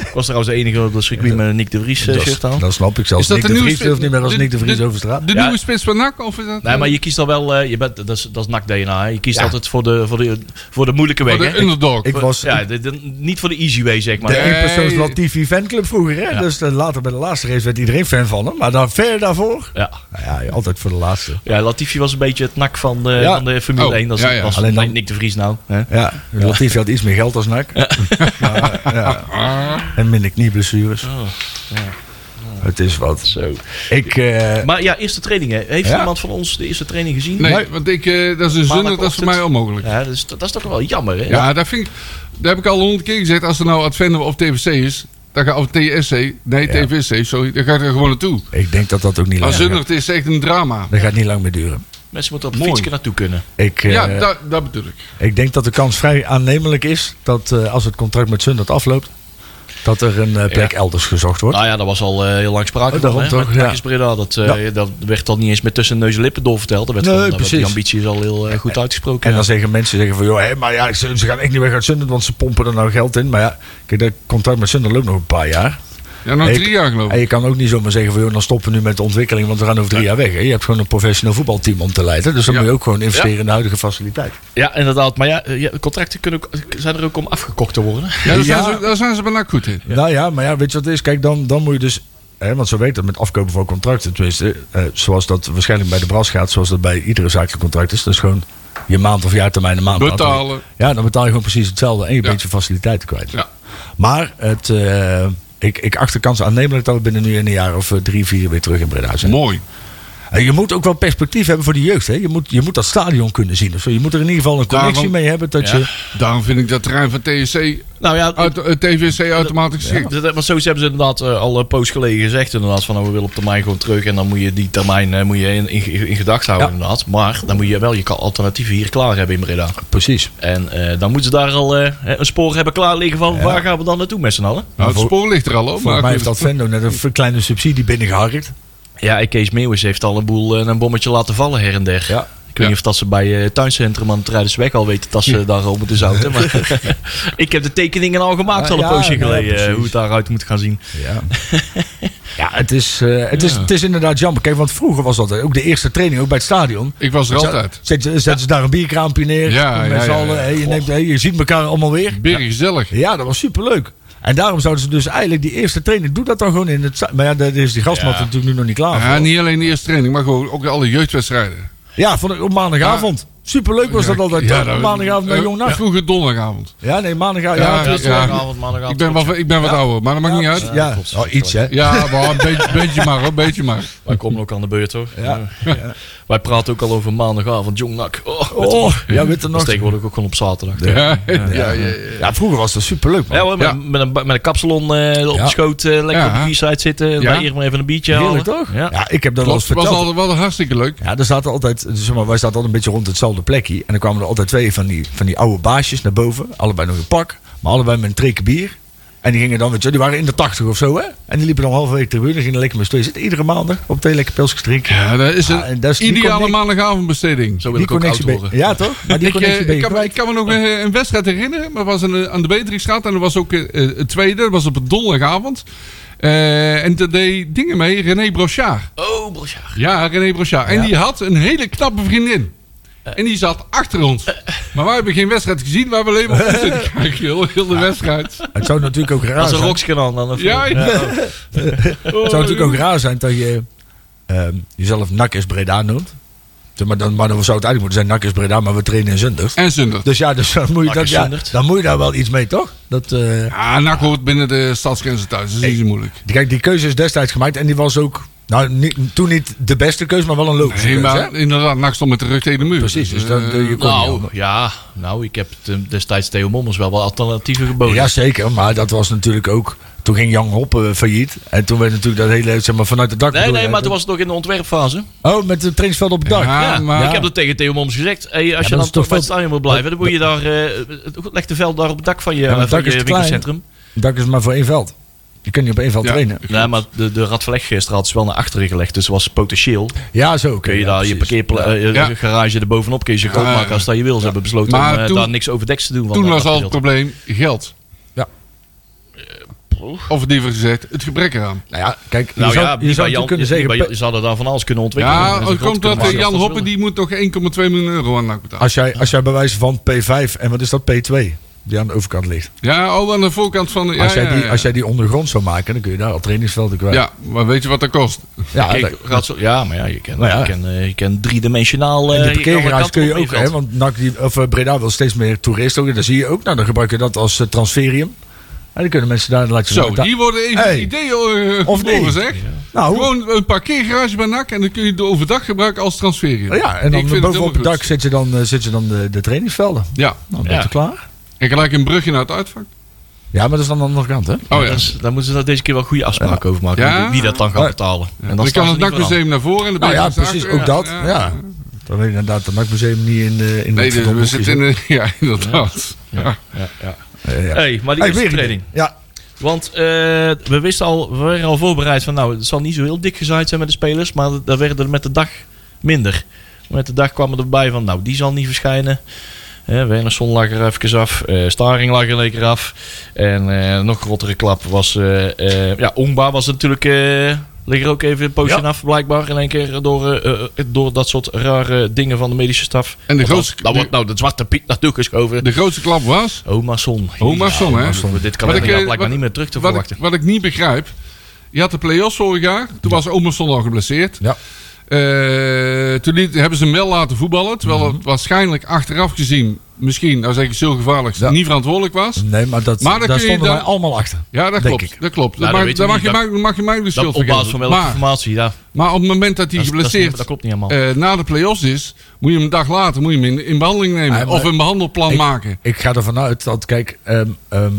Speaker 2: ik was trouwens de enige op de circuit met een Nick de Vries eh, shirt aan.
Speaker 4: Dat, dat snap ik zelfs.
Speaker 3: is dat
Speaker 4: Nick
Speaker 3: de
Speaker 4: de
Speaker 3: nieuwe
Speaker 4: Vries
Speaker 3: spits-
Speaker 4: durft niet meer als
Speaker 3: de-
Speaker 4: Nick de Vries
Speaker 3: de-
Speaker 4: over straat.
Speaker 3: de
Speaker 2: Ja.
Speaker 3: nieuwe spits van NAC? Of is dat,
Speaker 2: Nee, maar je kiest dan wel, eh, je bent, dat, is, dat is NAC-DNA. Je kiest altijd voor de, voor, de, voor de moeilijke weg.
Speaker 3: Voor oh, de
Speaker 2: hè?
Speaker 3: underdog.
Speaker 4: Ik was
Speaker 2: ja, de- de- niet voor de easy way, zeg maar.
Speaker 4: de
Speaker 3: Nee.
Speaker 4: eenpersoons wat TV fanclub vroeger, hè? Dus eh, later bij de laatste race werd iedereen fan van hem. Maar dan ver daarvoor...
Speaker 2: Ja.
Speaker 4: Nou ja, altijd voor de laatste.
Speaker 2: ja, Latifi was een beetje het NAC van de,
Speaker 4: Ja.
Speaker 2: van de Formule
Speaker 3: Oh,
Speaker 2: 1. Dat is,
Speaker 3: ja, ja.
Speaker 2: dat is
Speaker 4: Alleen dan-
Speaker 2: Nick de Vries nou. Hè?
Speaker 4: Ja, Latifi had iets meer geld
Speaker 3: Oh.
Speaker 4: als NAC. Maar, ja. En minder knieblessures. Het is wat.
Speaker 2: Zo.
Speaker 4: Ik, eh,
Speaker 2: Maar ja, eerste training. Hè. Heeft
Speaker 4: Ja.
Speaker 2: iemand van ons de eerste training gezien?
Speaker 3: Nee, want ik, eh, dat is een zonde, dat is voor
Speaker 2: Maandagochtend.
Speaker 3: mij onmogelijk.
Speaker 2: Ja, dus dat, is, dat is toch wel jammer, hè?
Speaker 3: Ja, daar, vind ik, daar heb ik al honderd keer gezegd. Als er nou Advendum of TVC is, dan ga, of TSC, nee,
Speaker 4: Ja.
Speaker 3: TVC, sorry, dan ga ik er gewoon naartoe.
Speaker 4: ik denk dat dat ook niet
Speaker 3: Maar
Speaker 4: lang gaat.
Speaker 3: Zundert is echt een drama.
Speaker 4: Dat gaat niet lang meer duren.
Speaker 2: Mensen moeten op
Speaker 3: Mooi.
Speaker 2: fietsje naartoe kunnen.
Speaker 4: Ik, eh,
Speaker 3: Ja, da- dat bedoel ik.
Speaker 4: ik denk dat de kans vrij aannemelijk is dat eh, als het contract met Zundert afloopt, dat er een eh, plek elders gezocht
Speaker 3: Ah,
Speaker 4: wordt.
Speaker 2: Nou ja, dat was al eh, heel lang sprake
Speaker 4: Oh,
Speaker 2: van.
Speaker 4: daarom
Speaker 2: hè,
Speaker 4: toch,
Speaker 2: met
Speaker 4: ja.
Speaker 2: Takis Breda, dat, eh, dat werd dan niet eens met tussen neus en lippen doorverteld. Dat werd
Speaker 4: Nee,
Speaker 2: gewoon, dat-
Speaker 4: precies.
Speaker 2: Die ambitie is al heel eh, goed uitgesproken.
Speaker 4: En dan
Speaker 2: ja.
Speaker 4: zeggen mensen zeggen van, joh, hè, maar ja, ze, ze gaan echt niet weg uit Zundert, want ze pompen er nou geld in. Maar ja, kijk, dat contract met Zundert loopt nog een paar jaar.
Speaker 3: Ja, nog
Speaker 4: Ik-
Speaker 3: drie jaar geloof
Speaker 4: En
Speaker 3: ik.
Speaker 4: je kan ook niet zomaar zeggen van, joh, dan stoppen we nu met de ontwikkeling, want we gaan over drie jaar weg. Hè. Je hebt gewoon een professioneel voetbalteam om te leiden, dus dan
Speaker 3: Ja.
Speaker 4: moet je ook gewoon investeren in de huidige faciliteit.
Speaker 2: Ja, inderdaad. Maar ja, eh, ja, contracten kunnen ook, zijn er ook om afgekocht te worden. (laughs)
Speaker 3: Ja, daar,
Speaker 4: Ja.
Speaker 3: Zijn ze, daar zijn ze bijna goed in.
Speaker 4: Nou ja, maar ja, weet je wat het is? Kijk, dan, dan moet je dus. Hè, want zo weet dat met afkopen van contracten. Tenminste, eh, zoals dat waarschijnlijk bij de Bras gaat, zoals dat bij iedere zakelijk contract is. Dus gewoon je maand of jaartermijn een maand.
Speaker 3: Betalen.
Speaker 4: Ja, dan betaal je gewoon precies hetzelfde. En je
Speaker 3: Ja.
Speaker 4: bent je faciliteiten kwijt.
Speaker 3: Ja.
Speaker 4: Maar het, eh, ik, ik acht de kans aannemelijk dat we binnen nu in een jaar of eh, drie, vier weer terug in Breda zijn.
Speaker 3: Mooi.
Speaker 4: En je moet ook wel perspectief hebben voor de jeugd. Hè? Je, moet, je moet dat stadion kunnen zien. Of zo. Je moet er in ieder geval een connectie
Speaker 3: Daarom-
Speaker 4: mee hebben. Dat
Speaker 2: Ja.
Speaker 4: je,
Speaker 3: Daarom vind ik dat terrein van TSC,
Speaker 2: Nou ja,
Speaker 4: Oh,
Speaker 3: uit, eh, TVC automatisch geschikt.
Speaker 2: Dat- dat- Want sowieso hebben ze inderdaad eh, al een post geleden gezegd. Inderdaad, van nou, we willen op termijn gewoon terug. En dan moet je die termijn eh, moet je in, in, in gedachten houden.
Speaker 4: Ja.
Speaker 2: Inderdaad. Maar dan moet je wel je ka- alternatieven hier klaar hebben in Breda.
Speaker 4: precies.
Speaker 2: En eh, dan moeten ze daar al eh, een spoor hebben klaar liggen van waar gaan we dan naartoe met z'n allen.
Speaker 3: Nou, het spoor ligt er al op.
Speaker 4: Volgens
Speaker 3: maar
Speaker 4: mij heeft
Speaker 3: goed.
Speaker 4: dat Vendo net een ver- kleine subsidie binnengeharkt.
Speaker 2: Ja, en Kees Meeuwis heeft al een boel eh, een bommetje laten vallen her en der.
Speaker 4: Ja.
Speaker 2: Ik weet
Speaker 3: Ja.
Speaker 2: niet of dat ze bij eh, het tuincentrum aan het Rijdersweg al weten dat ze daar al moeten
Speaker 4: (laughs)
Speaker 2: zouten. Maar ik heb de tekeningen al gemaakt
Speaker 4: Ah,
Speaker 2: al een
Speaker 4: ja,
Speaker 2: poosje
Speaker 4: ja,
Speaker 2: geleden. eh,
Speaker 4: precies.
Speaker 2: hoe het daaruit moet gaan zien.
Speaker 3: (laughs)
Speaker 4: Ja, ja, het, is, eh, het, is, het is inderdaad jammer. Kijk, want vroeger was dat ook de eerste training, ook bij het stadion.
Speaker 3: Ik was er altijd.
Speaker 4: Zet, zet, zetten ze daar een bierkraampje neer.
Speaker 3: Ja,
Speaker 4: met
Speaker 3: ja,
Speaker 4: z'n
Speaker 3: ja,
Speaker 4: allen.
Speaker 3: ja.
Speaker 4: Hey, je, neemt, hey, je ziet elkaar allemaal weer.
Speaker 3: Berg gezellig.
Speaker 4: Ja, dat was superleuk. En daarom zouden ze dus eigenlijk die eerste training... Doe dat dan gewoon in het... sta- Maar ja, daar is die gastmat natuurlijk nu nog niet klaar
Speaker 3: Ja,
Speaker 4: voor.
Speaker 3: niet alleen de eerste training, maar gewoon ook alle jeugdwedstrijden.
Speaker 4: Ja, vond ik op maandagavond. Superleuk was dat altijd.
Speaker 3: Ja,
Speaker 4: Ja,
Speaker 3: dat-
Speaker 4: maandagavond bij
Speaker 3: eh,
Speaker 4: Jong Nacht.
Speaker 3: Vroeger donderdagavond.
Speaker 4: Ja, nee, maandagavond.
Speaker 3: Ja,
Speaker 4: Ah, Ja, het
Speaker 3: ja,
Speaker 4: was-
Speaker 2: Zaterdagavond, maandagavond,
Speaker 3: Ik ben,
Speaker 2: klopt,
Speaker 3: wat, ik ben wat ouder, maar dat maakt niet uit.
Speaker 4: ja.
Speaker 2: klopt.
Speaker 4: Oh, iets hè.
Speaker 3: Ja, maar een beetje, beetje maar, hoor, een beetje maar.
Speaker 2: ja. Wij komen ook aan de beurt hoor.
Speaker 4: Ja.
Speaker 2: Wij praten ook al over maandagavond, jong nak. Oh,
Speaker 4: Oh, ja, witte
Speaker 2: dat is
Speaker 4: nog.
Speaker 2: tegenwoordig ook gewoon op zaterdag. Ja,
Speaker 3: Ja, ja, ja, ja.
Speaker 4: Ja, vroeger was dat superleuk. man.
Speaker 2: hoor, met,
Speaker 3: Ja.
Speaker 2: Met, een, ba- met een kapsalon eh, op
Speaker 4: Ja.
Speaker 2: de schoot, eh, lekker
Speaker 3: Ja.
Speaker 2: op de biersite zitten. En
Speaker 3: Ja.
Speaker 2: Daar hier maar even een biertje halen.
Speaker 4: Heerlijk toch?
Speaker 2: Ja.
Speaker 4: Ja, ik heb dat wel eens
Speaker 3: Klopt, was
Speaker 4: verteld.
Speaker 3: altijd wel hartstikke leuk.
Speaker 4: Ja, er zaten altijd, zeg maar, wij zaten altijd een beetje rond hetzelfde plekje. En dan kwamen er altijd twee van die, van die oude baasjes naar boven. Allebei nog een pak, maar allebei met een treken bier. En die gingen dan, weet je, die waren in de tachtig of zo, hè? En die liepen dan halverwege de tribune, gingen lekker met twee zitten. Iedere maandag op twee lekker pilsjes drinken.
Speaker 3: Ja, dat is
Speaker 4: en
Speaker 3: een
Speaker 4: dat is- die
Speaker 3: ideale
Speaker 4: connect-
Speaker 3: maandagavondbesteding.
Speaker 2: Zo wil ik ook oud
Speaker 4: connectie ben-
Speaker 2: worden.
Speaker 4: Ja, toch? Maar die
Speaker 3: Ik, eh,
Speaker 4: connectie ben
Speaker 3: ik,
Speaker 4: je
Speaker 3: kan, me- ik
Speaker 4: kwijt.
Speaker 3: kan me nog eh, een wedstrijd herinneren. Maar was aan de, aan de Beatrixstraat. En dat was ook eh, eh, het tweede. Dat was op een donderdagavond. Eh, en daar deed dingen mee. René Brochard.
Speaker 2: Oh, broer.
Speaker 3: Ja, René Brochard. En die had een hele knappe vriendin.
Speaker 4: Eh.
Speaker 3: En die zat achter ons. Maar wij hebben geen wedstrijd gezien. Wij hebben alleen maar op
Speaker 4: (laughs)
Speaker 3: zitten kijken. Heel, heel de wedstrijd.
Speaker 4: Het zou natuurlijk ook raar
Speaker 2: Dat is een
Speaker 4: zijn.
Speaker 2: rokskanaal dan. of
Speaker 3: Ja,
Speaker 2: niet?
Speaker 3: ja. Oh,
Speaker 4: Het zou natuurlijk ook raar zijn dat je ehm, jezelf Nakkers Breda noemt. Zeg Maar dan, maar dan zou het eigenlijk moeten zijn Nakkers Breda, maar we trainen in Zundert.
Speaker 3: En Zundert.
Speaker 4: Dus ja, dus dan moet je,
Speaker 2: Nac
Speaker 4: dat,
Speaker 2: is
Speaker 4: ja,
Speaker 2: Zundert.
Speaker 4: dan moet je daar wel iets mee, toch? Dat, eh,
Speaker 3: Ja, NAC hoort binnen de stadsgrenzen thuis. Dat is niet zo moeilijk.
Speaker 4: Kijk, die keuze is destijds gemaakt en die was ook, nou, niet, toen niet de beste keuze, maar wel een logische
Speaker 3: Nee,
Speaker 4: keuze.
Speaker 3: maar
Speaker 4: hè?
Speaker 3: inderdaad, NAC stond met de rug tegen de muur.
Speaker 4: Precies, dus
Speaker 3: Eh,
Speaker 4: dan, eh, je kon niet
Speaker 2: Nou,
Speaker 4: anders.
Speaker 2: ja. Nou, ik heb t- destijds Theo Mommers wel wat alternatieven geboden.
Speaker 4: Jazeker, Oh, maar dat was natuurlijk ook, toen ging Jan Hoppe eh, failliet. En toen werd natuurlijk dat hele, zeg maar, vanuit de dak.
Speaker 2: Nee,
Speaker 4: bedoel
Speaker 2: nee,
Speaker 4: je,
Speaker 2: maar
Speaker 4: hè? Ah,
Speaker 2: toen was het nog in de ontwerpfase.
Speaker 4: Oh, met het trainingsveld op het dak.
Speaker 3: Ja,
Speaker 2: Ja,
Speaker 3: maar-
Speaker 2: ik heb dat tegen Theo Mommers gezegd. Hey, als
Speaker 4: dat
Speaker 2: je
Speaker 4: is
Speaker 2: dan
Speaker 4: toch
Speaker 2: toch bij het
Speaker 4: veel-
Speaker 2: stadion moet blijven, dan moet je daar... eh, goed, leg de veld daar op het dak van je,
Speaker 4: maar het
Speaker 2: van
Speaker 4: dak
Speaker 2: je
Speaker 4: is te klein.
Speaker 2: winkelcentrum.
Speaker 4: Het dak is maar voor één veld. Je kunt niet op één veld
Speaker 3: Ja.
Speaker 4: trainen.
Speaker 2: Nee, maar de, de Radverlegstraat is wel naar achteren gelegd. Dus was potentieel.
Speaker 4: Ja, zo. oké,
Speaker 2: Kun je
Speaker 4: ja,
Speaker 2: daar je
Speaker 4: precies.
Speaker 2: parkeergarage eh
Speaker 3: Ja.
Speaker 2: je garage er bovenop kun je zo groot
Speaker 3: Ja.
Speaker 2: maken als dat je wil. Ze hebben besloten
Speaker 3: Maar
Speaker 2: om eh,
Speaker 3: toen-
Speaker 2: daar niks overdeks te doen. van
Speaker 3: Toen
Speaker 2: dat
Speaker 3: was al het
Speaker 2: gedeelte.
Speaker 3: probleem geld. Eh,
Speaker 4: Ja.
Speaker 3: Of liever gezegd, het gebrek eraan.
Speaker 4: Nou ja, kijk, je
Speaker 2: Nou
Speaker 4: zou,
Speaker 2: ja,
Speaker 4: je zou natuurlijk kunnen zeggen...
Speaker 2: bij, ze hadden daar van alles kunnen ontwikkelen.
Speaker 3: Ja,
Speaker 2: en zo groot
Speaker 3: het komt
Speaker 2: kunnen
Speaker 3: dat eh,
Speaker 2: maken
Speaker 3: Jan
Speaker 2: als ze
Speaker 3: Hoppe
Speaker 2: willen.
Speaker 3: die moet nog 1,2 miljoen euro aan NAC betalen.
Speaker 4: als, jij, als jij bij wijze van P5, en wat is dat, P2, die aan de overkant ligt.
Speaker 3: Ja, al aan de voorkant van de. Ja,
Speaker 4: Als jij
Speaker 3: ja,
Speaker 4: die,
Speaker 3: ja.
Speaker 4: als jij die ondergrond zou maken, dan kun je daar al trainingsvelden kwijt.
Speaker 3: ja, eh, maar weet je wat dat kost?
Speaker 4: Ja,
Speaker 2: Kijk,
Speaker 4: dat-
Speaker 2: gaat zo, ja, maar ja, je kent
Speaker 4: Nou ja.
Speaker 2: je kent, eh, je kent driedimensionaal... eh,
Speaker 4: En
Speaker 2: je
Speaker 4: die
Speaker 2: kan alle
Speaker 4: parkeergarage
Speaker 2: kanten
Speaker 4: kun je
Speaker 2: op
Speaker 4: ook,
Speaker 2: met
Speaker 4: hè?
Speaker 2: geld.
Speaker 4: Want NAC die, of eh, Breda wil steeds meer toeristen. ook, en Dat zie je ook. Nou, dan gebruik je dat als eh, transferium. En dan kunnen mensen daar lekker
Speaker 3: Zo,
Speaker 4: da-
Speaker 3: hier worden even
Speaker 4: Hey.
Speaker 3: ideeën eh,
Speaker 4: Of
Speaker 3: geboren,
Speaker 4: niet.
Speaker 3: zeg.
Speaker 4: Nou,
Speaker 3: Gewoon een parkeergarage bij NAC en dan kun je de overdag gebruiken als transferje.
Speaker 4: ja, en dan bovenop het dak
Speaker 3: zitten.
Speaker 4: zit je dan, eh, zit je dan de, de trainingsvelden.
Speaker 3: Ja,
Speaker 4: Nou, ben je
Speaker 2: Ja.
Speaker 4: klaar?
Speaker 3: en gelijk een brugje naar het uitvak.
Speaker 4: Ja, maar dat is dan aan de andere kant, hè?
Speaker 3: Oh ja.
Speaker 2: Dat is- daar moeten ze daar deze keer wel goede afspraken over maken.
Speaker 3: Ja.
Speaker 2: Wie- Wie dat dan gaat
Speaker 4: Ja.
Speaker 2: betalen. En
Speaker 3: Dan,
Speaker 2: dat
Speaker 3: kan het dus NAC-museum naar voren en de
Speaker 4: Nou ja,
Speaker 3: Beatles naar
Speaker 4: precies,
Speaker 3: achteren.
Speaker 4: ook dat. Ja. Dan weet je inderdaad dat NAC-museum niet in, eh, in
Speaker 3: Nee,
Speaker 4: dat
Speaker 3: dus
Speaker 4: verdomd
Speaker 3: we
Speaker 4: hoekje
Speaker 3: zitten in (laughs) een... Ja, inderdaad. Ja.
Speaker 4: zit. Eh, ja.
Speaker 2: hey, maar die
Speaker 4: Hey,
Speaker 2: eerste
Speaker 4: weer een-
Speaker 2: training.
Speaker 4: Ja,
Speaker 2: Want eh, we wisten al, we waren al voorbereid van nou, het zal niet zo heel dik gezaaid zijn met de spelers, maar dat werd er met de dag minder. Met de dag kwamen erbij van nou, die zal niet verschijnen. Eh, Wernersson lag er even af, eh, Staring lag er lekker af. En eh, nog rottere klap was, eh, eh, ja, Ongba was natuurlijk, eh ligt er ook even een poosje
Speaker 4: Ja.
Speaker 2: af blijkbaar. In één keer door, eh, eh, door dat soort rare dingen van de medische staf.
Speaker 3: En de
Speaker 2: Want
Speaker 3: grootste-
Speaker 2: dan- Dan wordt nou de zwarte piet naartoe geschoven.
Speaker 3: De grootste klap was...
Speaker 2: Omason.
Speaker 3: Omarsson, hè?
Speaker 2: Dit
Speaker 3: Wat
Speaker 2: kan nou
Speaker 3: ik, eh,
Speaker 2: blijkbaar
Speaker 3: wat-
Speaker 2: niet meer terug te
Speaker 3: wat
Speaker 2: verwachten.
Speaker 3: Ik, wat ik niet begrijp. Je had de play-offs vorig jaar. Toen was Omerson al geblesseerd.
Speaker 4: Ja.
Speaker 3: Eh, toen liet- hebben ze hem wel laten voetballen. Terwijl
Speaker 4: Mhm.
Speaker 3: het waarschijnlijk achteraf gezien... misschien, nou zeg ik zo gevaarlijk...
Speaker 4: Ja.
Speaker 3: niet verantwoordelijk was.
Speaker 4: nee, maar, dat,
Speaker 3: Maar dan kun
Speaker 4: daar
Speaker 3: je
Speaker 4: stonden
Speaker 3: dan-
Speaker 4: wij allemaal achter.
Speaker 3: Ja, dat
Speaker 4: Denk
Speaker 3: klopt.
Speaker 4: ik.
Speaker 3: Dat klopt.
Speaker 2: Nou,
Speaker 3: Daar mag,
Speaker 2: dat
Speaker 3: daar mag,
Speaker 2: weten we
Speaker 3: je, mag, mag je mij de
Speaker 2: Dat
Speaker 3: schuld
Speaker 2: op
Speaker 3: van
Speaker 2: basis van
Speaker 3: geven.
Speaker 2: welke
Speaker 3: Maar,
Speaker 2: informatie? Ja,
Speaker 3: maar op het moment dat hij
Speaker 2: dat, is- dat, is niet-
Speaker 3: geblesseerd...
Speaker 2: dat klopt niet helemaal.
Speaker 3: eh, na de play-offs is... moet je hem een dag later moet je hem in, in behandeling nemen.
Speaker 4: Ah, maar-
Speaker 3: of een behandelplan
Speaker 4: Ik-
Speaker 3: maken.
Speaker 4: Ik ga ervan uit dat, kijk, ehm ehm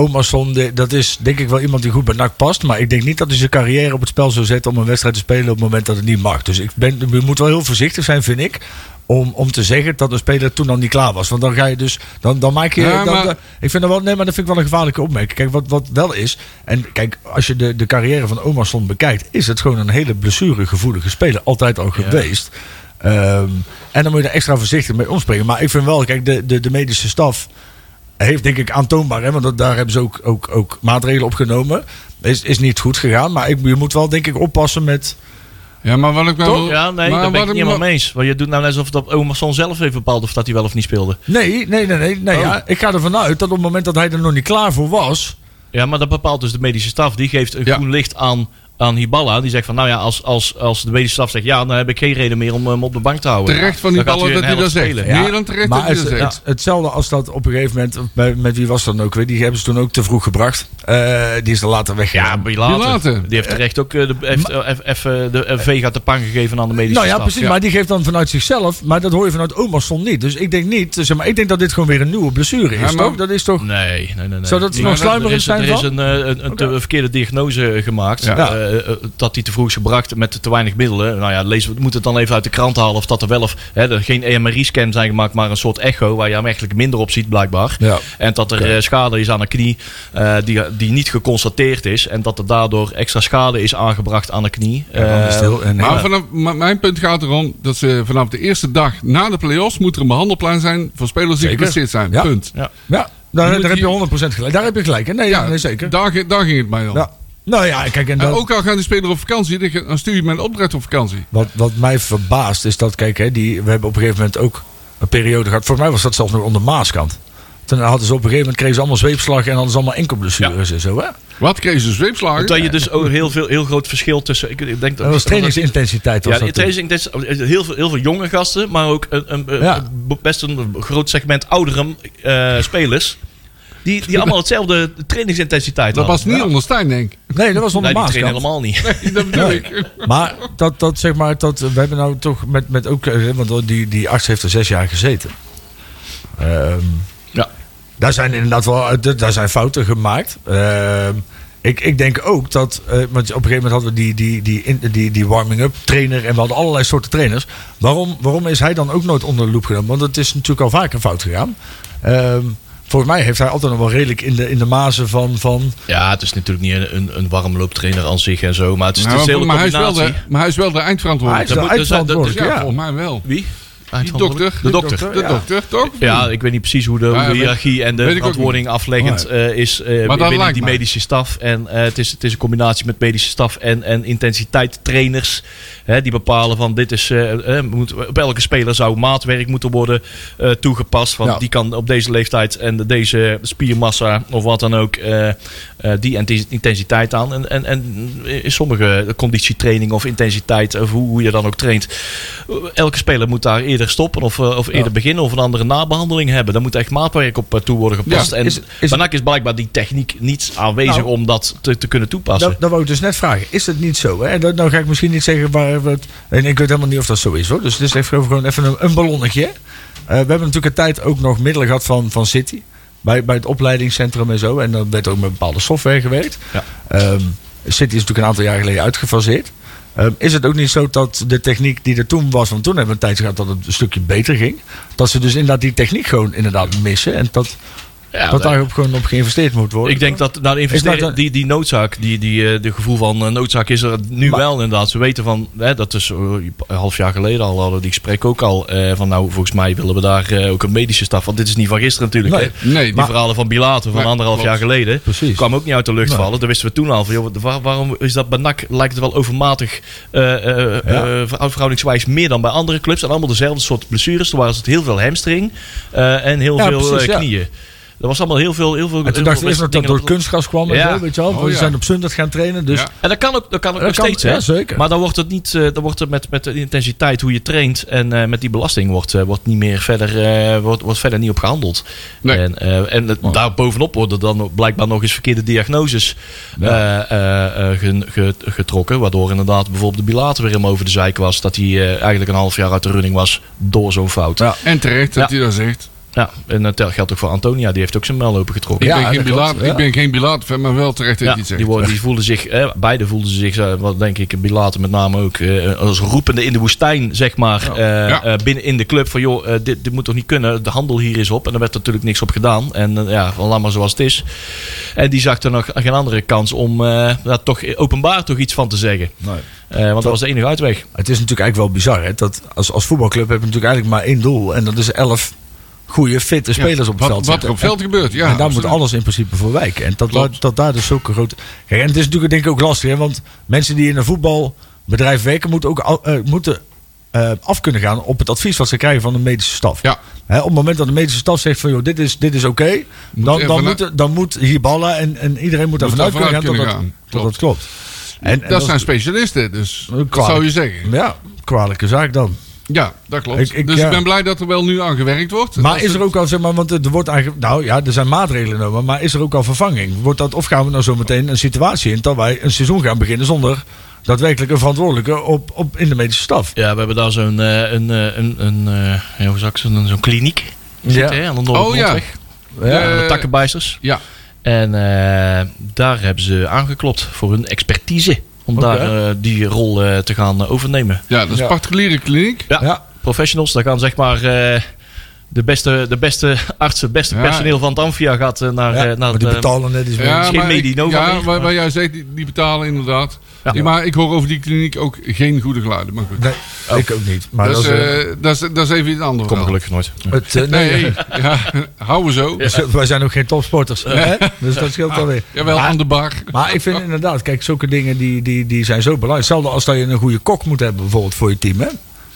Speaker 4: Omarsson, de- dat is denk ik wel iemand die goed bij NAC past. Maar ik denk niet dat hij zijn carrière op het spel zou zetten om een wedstrijd te spelen op het moment dat het niet mag. Dus ik ben, je moet wel heel voorzichtig zijn, vind ik. Om, om te zeggen dat een speler toen al niet klaar was. Want dan ga je dus. Dan, dan maak je.
Speaker 3: Ja,
Speaker 4: dan-
Speaker 3: maar-
Speaker 4: dan- ik vind dat wel. Nee, maar dat vind ik wel een gevaarlijke opmerking. Kijk, wat, wat wel is. En kijk, als je de, de carrière van Omarsson bekijkt. Is het gewoon een hele blessuregevoelige speler. Altijd al geweest. Ehm, en dan moet je er extra voorzichtig mee omspringen. Maar ik vind wel, kijk, de, de, de medische staf heeft denk ik aantoonbaar, hè, want dat, daar hebben ze ook, ook, ook maatregelen op genomen. Is, is niet goed gegaan, maar ik, je moet wel denk ik oppassen met...
Speaker 3: Ja, maar wat ik wel...
Speaker 2: Toch? Ja, nee,
Speaker 3: maar
Speaker 2: daar ben ik
Speaker 3: wat
Speaker 2: niet helemaal
Speaker 3: wel-
Speaker 2: mee eens. Want je doet nou net alsof dat Omerson zelf heeft bepaald of dat hij wel of niet speelde.
Speaker 4: Nee, nee, nee, nee. nee
Speaker 2: Oh.
Speaker 4: ja, ik ga ervan uit dat op het moment dat hij er nog niet klaar voor was...
Speaker 2: Ja, maar dat bepaalt dus de medische staf. Die geeft een
Speaker 3: Ja.
Speaker 2: groen licht aan, aan Hiballa. Die zegt van, nou ja, als, als, als de medische staf zegt... ja, dan heb ik geen reden meer om eh, hem op de bank te houden.
Speaker 3: Terecht van
Speaker 2: Dan
Speaker 3: Hiballa
Speaker 2: gaat
Speaker 3: dat hij
Speaker 2: een
Speaker 3: dat
Speaker 2: helft
Speaker 3: zegt.
Speaker 2: spelen.
Speaker 3: Meer dan terecht
Speaker 4: maar
Speaker 3: dat je
Speaker 4: het,
Speaker 3: dat
Speaker 4: het-
Speaker 3: zegt.
Speaker 4: hetzelfde als dat op een gegeven moment... Met, met wie was dat nou ook weer? Die hebben ze toen ook te vroeg gebracht. Eh, die is er later weggegaan.
Speaker 2: Ja, Bilater.
Speaker 3: Bilater.
Speaker 2: Die heeft terecht ook eh, de, heeft, eh, F- F- eh, de V gaat de pang gegeven aan de medische
Speaker 4: Nou ja,
Speaker 2: staf.
Speaker 4: precies.
Speaker 3: ja.
Speaker 4: Maar die geeft dan vanuit zichzelf. Maar dat hoor je vanuit Omerson niet. Dus ik denk niet. Zeg maar, ik denk dat dit gewoon weer een nieuwe blessure is.
Speaker 3: Ja, maar-
Speaker 4: toch? Dat is toch.
Speaker 2: Nee, nee, nee. nee.
Speaker 4: Zou dat
Speaker 2: Die-
Speaker 4: nog
Speaker 2: maar
Speaker 4: sluimerend
Speaker 2: er is-
Speaker 4: zijn
Speaker 2: Er is
Speaker 4: van?
Speaker 2: een, eh, een, een te- verkeerde diagnose gemaakt.
Speaker 4: Ja.
Speaker 2: eh, eh, eh, dat hij te vroeg is gebracht met te weinig middelen. Nou ja, lezen, we moeten het dan even uit de krant halen of dat er wel of... Hè, er geen E EMRI-scan zijn gemaakt, maar een soort echo... waar je hem eigenlijk minder op ziet, blijkbaar.
Speaker 4: Ja.
Speaker 2: En dat er eh, schade is aan een knie eh, die, die niet geconstateerd is. En dat er daardoor extra schade is aangebracht aan de knie. Eh,
Speaker 4: dan is het heel- en-
Speaker 3: Maar
Speaker 4: ja.
Speaker 3: vanaf, maar mijn punt gaat erom dat ze vanaf de eerste dag na de play-offs moet er een behandelplan zijn voor spelers die
Speaker 4: Zeker.
Speaker 3: geblesseerd zijn.
Speaker 4: Ja.
Speaker 3: Punt.
Speaker 2: Ja.
Speaker 4: Ja, daar,
Speaker 3: Moet
Speaker 4: daar heb
Speaker 3: die-
Speaker 4: je 100% gelijk. Daar heb je gelijk. hè? Nee, ja, nee zeker.
Speaker 3: Daar, ge- daar ging het mij om.
Speaker 4: Ja. Nou ja, kijk, en
Speaker 3: En
Speaker 4: dat,
Speaker 3: Eh, ook al gaan die spelers op vakantie, dan ge- dan stuur je mijn opdracht op vakantie.
Speaker 4: wat, wat mij verbaast is dat, kijk, hè, die, we hebben op een gegeven moment ook een periode gehad. Volgens mij was dat zelfs nog onder Maaskant. Toen hadden ze op een gegeven moment kregen ze allemaal zweepslag en hadden ze allemaal enkelblessures en zo. Hè?
Speaker 3: Wat kregen ze zweepslagen?
Speaker 2: Dat je dus ook heel, veel, heel groot verschil tussen... Ik, ik denk dat,
Speaker 4: Dat was trainingsintensiteit. Was
Speaker 2: Ja,
Speaker 4: dat
Speaker 2: het is, het is heel, veel, heel veel jonge gasten, maar ook een, een, een-
Speaker 4: Ja.
Speaker 2: best een groot segment oudere eh, spelers. Die, die allemaal hetzelfde trainingsintensiteit
Speaker 3: Dat
Speaker 2: hadden.
Speaker 3: was niet onder Stijn, denk ik.
Speaker 4: toen. Nee, dat was onder
Speaker 2: Nee, die trainen
Speaker 4: Maaskant.
Speaker 2: helemaal niet.
Speaker 3: Dat bedoel
Speaker 4: Nee.
Speaker 3: ik.
Speaker 4: (laughs) Maar dat, dat zeg maar, dat, we hebben nou toch met, met ook, eh, want die, die arts heeft er zes jaar gezeten. Ehm,
Speaker 2: Ja.
Speaker 4: Daar zijn inderdaad wel, eh, daar zijn fouten gemaakt. Ehm, ik, ik denk ook dat, eh, want op een gegeven moment hadden we die, die, die, in- die, die warming-up trainer en we hadden allerlei soorten trainers. Waarom, waarom is hij dan ook nooit onder de loep genomen? Want het is natuurlijk al vaker fout gegaan. Ehm, volgens mij heeft hij altijd nog wel redelijk in de, in de mazen van, van
Speaker 2: Ja, het is natuurlijk niet een, een, een warmlooptrainer aan zich en zo, maar het is
Speaker 3: Nou,
Speaker 2: een hele
Speaker 3: maar, hij is wel
Speaker 2: combinatie.
Speaker 3: de, maar hij is wel de
Speaker 4: hij is
Speaker 3: eindverantwoordelijke.
Speaker 4: de
Speaker 2: moet- dat is- dat- dat
Speaker 4: eindverantwoordelijke,
Speaker 3: ja,
Speaker 4: ja.
Speaker 3: volgens mij wel.
Speaker 2: Wie?
Speaker 3: Die dokter.
Speaker 2: De dokter.
Speaker 3: De dokter, toch?
Speaker 2: Ja, ik weet niet precies hoe de, hoe
Speaker 3: Ja,
Speaker 2: de
Speaker 3: weet-
Speaker 2: hiërarchie en de
Speaker 3: weet ik ook
Speaker 2: verantwoording afleggend eh, is eh,
Speaker 3: dat
Speaker 2: binnen
Speaker 3: lijkt
Speaker 2: die
Speaker 3: mij.
Speaker 2: medische staf. En eh, het, is, het is een combinatie met medische staf en, en intensiteit trainers. Hè, die bepalen van dit is, eh, eh, moet, op elke speler zou maatwerk moeten worden eh, toegepast. Want
Speaker 4: Ja.
Speaker 2: die kan op deze leeftijd en deze spiermassa of wat dan ook eh, eh, die inten- intensiteit aan. En, en, en in sommige conditietraining of intensiteit of hoe, hoe je dan ook traint. Elke speler moet daar eerder eerder stoppen of, eh, of eerder beginnen of een andere nabehandeling hebben. Daar moet echt maatwerk op eh, toe worden gepast.
Speaker 3: Ja,
Speaker 2: en
Speaker 4: is-
Speaker 2: is,
Speaker 4: is-
Speaker 2: is blijkbaar die techniek niet aanwezig
Speaker 4: Nou.
Speaker 2: om dat te, te kunnen toepassen.
Speaker 4: Dat, dat wou ik dus net vragen. Is dat niet zo? Hè? Dat, nou ga ik misschien niet zeggen waar we het... En ik weet helemaal niet of dat zo is hoor. Dus het is even, gewoon even een, een ballonnetje. hè? Eh, we hebben natuurlijk een tijd ook nog middelen gehad van, van City. Bij, bij het opleidingscentrum en zo. En dan werd ook met bepaalde software gewerkt.
Speaker 2: Ja.
Speaker 4: Ehm, City is natuurlijk een aantal jaar geleden uitgefaseerd. Ehm, is het ook niet zo dat de techniek die er toen was, want toen hebben we een tijd gehad dat het een stukje beter ging, dat ze dus inderdaad die techniek gewoon inderdaad missen en dat,
Speaker 2: Ja,
Speaker 4: dat
Speaker 2: nee.
Speaker 4: daar ook gewoon op geïnvesteerd moet worden?
Speaker 2: Ik denk dat nou, investeren,
Speaker 4: Is dat-
Speaker 2: die, die noodzaak, die, die, eh, de gevoel van eh, noodzaak is er nu
Speaker 4: Maar-
Speaker 2: wel inderdaad. Ze weten van, hè, dat is eh, een half jaar geleden al, hadden we die gesprek ook al. eh, van nou, volgens mij willen we daar eh, ook een medische staf. Want dit is niet van gisteren natuurlijk.
Speaker 4: Nee.
Speaker 2: hè.
Speaker 3: Nee,
Speaker 2: Die
Speaker 3: maar-
Speaker 2: verhalen van Bilater van
Speaker 3: Nee,
Speaker 2: anderhalf
Speaker 3: klopt.
Speaker 2: jaar geleden.
Speaker 4: Precies.
Speaker 2: Kwam ook niet uit de lucht
Speaker 4: Nee.
Speaker 2: vallen. Daar wisten we toen al van, joh, waar- waarom is dat bij NAC, lijkt het wel overmatig, eh eh eh, verhoud- verhoudingswijs meer dan bij andere clubs. En allemaal dezelfde soort blessures. Toen was het heel veel hamstring eh, en heel
Speaker 4: Ja,
Speaker 2: veel eh,
Speaker 4: precies, ja.
Speaker 2: knieën. Er was allemaal heel veel... Heel veel
Speaker 4: En toen
Speaker 2: heel
Speaker 4: dacht ik
Speaker 2: veel
Speaker 4: eerst dat dat
Speaker 2: dingen
Speaker 4: door kunstgas kwam en
Speaker 2: Ja.
Speaker 4: zo, weet je wel.
Speaker 3: Oh,
Speaker 4: we
Speaker 3: ja.
Speaker 4: zijn op zondag gaan trainen, dus...
Speaker 3: Ja.
Speaker 2: En dat kan ook, dat kan ook
Speaker 4: Dat
Speaker 2: nog
Speaker 4: kan,
Speaker 2: steeds,
Speaker 4: ja,
Speaker 2: hè?
Speaker 4: zeker.
Speaker 2: Maar dan wordt het niet, eh, dan wordt het met, met de intensiteit hoe je traint en eh, met die belasting wordt, eh, wordt niet meer verder, eh, wordt, wordt verder niet op gehandeld.
Speaker 3: Nee.
Speaker 2: En, eh, en
Speaker 4: Oh.
Speaker 2: het- daar bovenop worden dan blijkbaar nog eens verkeerde diagnoses eh, eh, eh, gen- ge- getrokken, waardoor inderdaad bijvoorbeeld de bilater weer helemaal over de zeik was, dat hij eh, eigenlijk een half jaar uit de running was door zo'n fout.
Speaker 4: Ja.
Speaker 3: En terecht dat
Speaker 2: Ja.
Speaker 3: hij dat zegt.
Speaker 2: Ja, en eh, dat geldt ook voor Antonia, die heeft ook zijn mel open getrokken.
Speaker 3: Ik,
Speaker 4: Ja,
Speaker 3: ben, geen
Speaker 4: dat klopt,
Speaker 3: bilater,
Speaker 4: ja.
Speaker 3: ik ben geen bilater, maar wel terecht dat
Speaker 2: Ja,
Speaker 3: hij het zegt.
Speaker 2: die, worden, die voelden zich, eh, beide voelden zich, eh, wat denk ik, Bilater met name ook, eh, als roepende in de woestijn, zeg maar, eh,
Speaker 3: Ja.
Speaker 2: eh, binnen in de club. Van joh, eh, dit, dit moet toch niet kunnen, de handel hier is op. En er werd natuurlijk niks op gedaan. En eh, ja, van, laat maar zoals het is. En die zag er nog geen andere kans om eh, daar toch openbaar toch iets van te zeggen.
Speaker 4: Nee.
Speaker 2: Eh, want dat was de enige uitweg.
Speaker 4: Het is natuurlijk eigenlijk wel bizar, hè. Dat als, als voetbalclub heb je natuurlijk eigenlijk maar één doel. En dat is elf goede, fitte
Speaker 3: Ja,
Speaker 4: spelers op het
Speaker 3: wat,
Speaker 4: veld
Speaker 3: Wat er
Speaker 4: zetten.
Speaker 3: op veld gebeurt, ja.
Speaker 4: en daar moet
Speaker 3: absoluut.
Speaker 4: alles in principe voor wijken. En dat,
Speaker 3: Klopt.
Speaker 4: dat daar dus zulke grote... Kijk, en het is natuurlijk denk ik ook lastig, hè. Want mensen die in een voetbalbedrijf werken... moeten ook al- eh, moeten, eh, af kunnen gaan op het advies wat ze krijgen van de medische staf.
Speaker 3: Ja.
Speaker 4: Hè, op het moment dat de medische staf zegt van... Joh, dit is, dit is oké, dan,
Speaker 3: er
Speaker 4: dan,
Speaker 3: vanuit-
Speaker 4: moet, er- dan moet hier ballen... en, en iedereen moet daar
Speaker 3: Moet
Speaker 4: vanuit
Speaker 3: daar
Speaker 4: kunnen gaan,
Speaker 3: vanuit
Speaker 4: dat,
Speaker 3: kunnen
Speaker 4: Dat, dat dat klopt. En, en
Speaker 3: dat
Speaker 4: is-
Speaker 3: zijn specialisten, dus
Speaker 4: Kwalijk.
Speaker 3: dat zou je zeggen.
Speaker 4: Ja, kwalijke zaak dan.
Speaker 3: Ja, dat klopt.
Speaker 4: Ik- ik,
Speaker 3: dus
Speaker 4: ja.
Speaker 3: ik ben blij dat er wel nu aan gewerkt wordt.
Speaker 4: Maar
Speaker 3: Dat
Speaker 4: is er ook al, zeg maar, want er wordt eigenlijk, nou ja, er zijn maatregelen genomen, maar is er ook al vervanging? Wordt dat, of gaan we nou zometeen een situatie in dat wij een seizoen gaan beginnen zonder daadwerkelijk een verantwoordelijke op, op, in de medische staf?
Speaker 2: Ja, we hebben daar zo'n eh, een, eh, een, een, eh, ja, hoe zou ik zeggen, zo'n kliniek
Speaker 4: Ja.
Speaker 2: zitten hè, aan de
Speaker 3: Oh ja.
Speaker 2: Noordweg.
Speaker 3: Ja.
Speaker 2: Aan de
Speaker 3: Eh,
Speaker 2: takkenbijsters.
Speaker 3: Ja,
Speaker 2: En eh, daar hebben ze aangeklopt voor hun expertise. Om
Speaker 4: Oké.
Speaker 2: daar eh, die rol eh, te gaan eh, overnemen.
Speaker 3: ja dat is
Speaker 4: Ja.
Speaker 3: een particuliere kliniek.
Speaker 2: Ja. Professionals, daar gaan zeg maar eh, de, beste, de beste artsen, het beste
Speaker 3: Ja.
Speaker 2: personeel van het Amphia gaat eh, naar,
Speaker 4: Ja,
Speaker 3: Nou,
Speaker 2: eh, naar
Speaker 4: maar die
Speaker 2: de-
Speaker 4: betalen net iets meer.
Speaker 2: is geen
Speaker 3: maar ik-
Speaker 2: Medinova
Speaker 3: Ja,
Speaker 2: meer,
Speaker 3: waar,
Speaker 2: maar-
Speaker 3: waar jij zegt, die, die betalen inderdaad.
Speaker 2: Ja.
Speaker 3: Ja, maar ik hoor over die kliniek ook geen goede geluiden. Maar goed.
Speaker 4: Nee, ik ook niet. Maar
Speaker 3: dat, is,
Speaker 4: eh,
Speaker 3: eh, dat, is, dat is even iets anders.
Speaker 2: Kom gelukkig nooit.
Speaker 4: het, eh, (laughs) nee,
Speaker 3: Nee, ja, (laughs) houden we zo.
Speaker 4: dus, eh, wij zijn ook geen topsporters, hè? dus dat scheelt alweer.
Speaker 3: Jawel,
Speaker 4: Maar-
Speaker 3: aan de bar.
Speaker 4: Maar ik vind inderdaad, kijk, zulke dingen die, die, die zijn zo belangrijk. Hetzelfde als dat je een goede kok moet hebben bijvoorbeeld voor je team. Hè?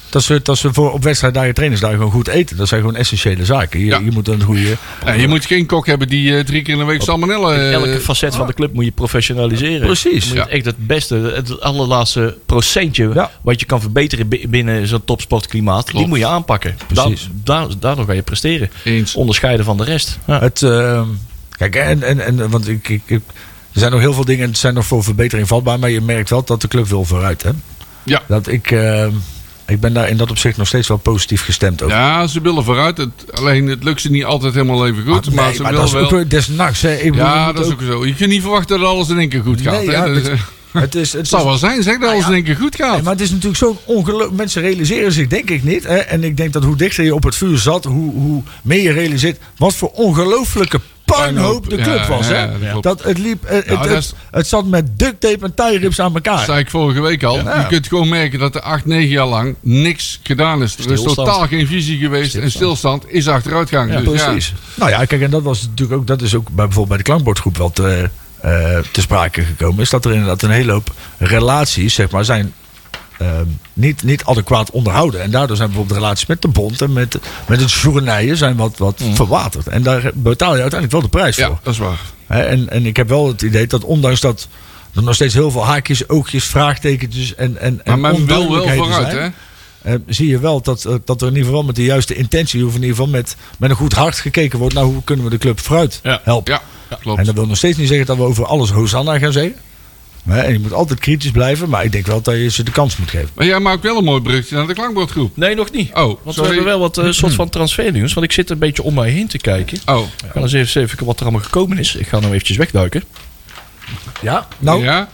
Speaker 4: Dat ze, dat ze voor, op wedstrijddagen, trainingsdagen gewoon goed eten. Dat zijn gewoon essentiële zaken. Je,
Speaker 3: Ja.
Speaker 4: je moet een goede...
Speaker 3: Nee, je moet geen kok hebben die eh, drie keer in de week salmonella... eh,
Speaker 2: Elke facet van de club moet je professionaliseren.
Speaker 4: Precies.
Speaker 2: Moet je
Speaker 3: Ja.
Speaker 2: Echt het beste, het allerlaatste procentje
Speaker 4: Ja.
Speaker 2: wat je kan verbeteren bi- binnen zo'n topsportklimaat,
Speaker 3: Klopt.
Speaker 2: die moet je aanpakken.
Speaker 4: Precies.
Speaker 2: Daar, daar, daardoor ga je presteren.
Speaker 3: Eens.
Speaker 2: Onderscheiden van de rest. Ja.
Speaker 4: Het, ehm, kijk, en, en, en, want ik, ik, ik- er zijn nog heel veel dingen, het zijn nog voor verbetering vatbaar. Maar je merkt wel dat de club wil vooruit. Hè?
Speaker 3: Ja.
Speaker 4: Dat ik, ehm, ik ben daar in dat opzicht nog steeds wel positief gestemd over.
Speaker 3: Ja, ze willen vooruit. Het, alleen het lukt ze niet altijd helemaal even goed.
Speaker 4: nee,
Speaker 3: maar ze
Speaker 4: maar dat
Speaker 3: willen
Speaker 4: is ook
Speaker 3: wel...
Speaker 4: weer desnachts. Hè? Ik bedoel, je
Speaker 3: Ja,
Speaker 4: moet
Speaker 3: dat is ook zo. Je kunt niet verwachten dat alles in één keer goed gaat.
Speaker 4: Nee,
Speaker 3: hè.
Speaker 4: ja,
Speaker 3: Dat is,
Speaker 4: het-
Speaker 3: eh,
Speaker 4: Het is, het
Speaker 3: het (laughs) zou
Speaker 4: is-
Speaker 3: wel zijn, zeg, dat alles in één keer goed gaat.
Speaker 4: Nou Nee, maar het is natuurlijk zo'n ongeluk. Mensen realiseren zich, denk ik niet. Hè? En ik denk dat hoe dichter je op het vuur zat, hoe, hoe meer je realiseert wat voor ongelofelijke puinhoop de
Speaker 3: Ja,
Speaker 4: club was. Hè?
Speaker 3: ja, dat klopt.
Speaker 4: dat het liep, eh, het,
Speaker 3: Nou,
Speaker 4: het,
Speaker 3: dat is-
Speaker 4: het zat met duct tape en tie-rips aan
Speaker 3: Dat
Speaker 4: elkaar.
Speaker 3: zei ik vorige week al.
Speaker 4: Ja.
Speaker 3: Je kunt gewoon merken dat er acht, negen jaar lang niks gedaan is. Er is
Speaker 2: Stilstand.
Speaker 3: totaal geen visie geweest. En stilstand is achteruitgang.
Speaker 4: Ja,
Speaker 3: Dus ja.
Speaker 4: precies. Nou ja, kijk, en dat was natuurlijk ook, dat is ook bij, bijvoorbeeld bij de klankbordgroep wel te, eh, te sprake gekomen. Is dat er inderdaad een hele hoop relaties, zeg maar, zijn eh, niet, niet adequaat onderhouden. En daardoor zijn bijvoorbeeld relaties met de bond en met, met het journijen zijn wat, wat verwaterd. En daar betaal je uiteindelijk wel de prijs
Speaker 3: Mhm. Ja,
Speaker 4: voor.
Speaker 3: dat is waar.
Speaker 4: Hè, en, en ik heb wel het idee dat ondanks dat er nog steeds heel veel haakjes, oogjes, vraagtekentjes en, en,
Speaker 3: Maar
Speaker 4: en
Speaker 3: men wil wel
Speaker 4: onduidelijkheden
Speaker 3: vooruit,
Speaker 4: zijn,
Speaker 3: hè?
Speaker 4: eh, zie je wel dat, eh, dat er in ieder geval met de juiste intentie, of in ieder geval met, met een goed hart gekeken wordt naar hoe kunnen we de club vooruit
Speaker 2: Ja.
Speaker 4: helpen.
Speaker 3: Ja, klopt.
Speaker 4: En dat wil nog steeds niet zeggen dat we over alles Hosanna gaan zeggen. Hè, en je moet altijd kritisch blijven, maar ik denk wel dat je ze de kans moet geven.
Speaker 3: Maar jij maakt wel een mooi bruggetje naar de klankbordgroep.
Speaker 2: Nee, nog niet.
Speaker 3: Oh,
Speaker 2: Want we
Speaker 3: sorry.
Speaker 2: hebben wel wat eh, soort van transfernieuws. Want ik zit een beetje om mij heen te kijken.
Speaker 3: Oh,
Speaker 2: Ik ga eens even kijken wat er allemaal gekomen is. Ik ga nou eventjes wegduiken.
Speaker 4: Ja? Nou,
Speaker 3: ja?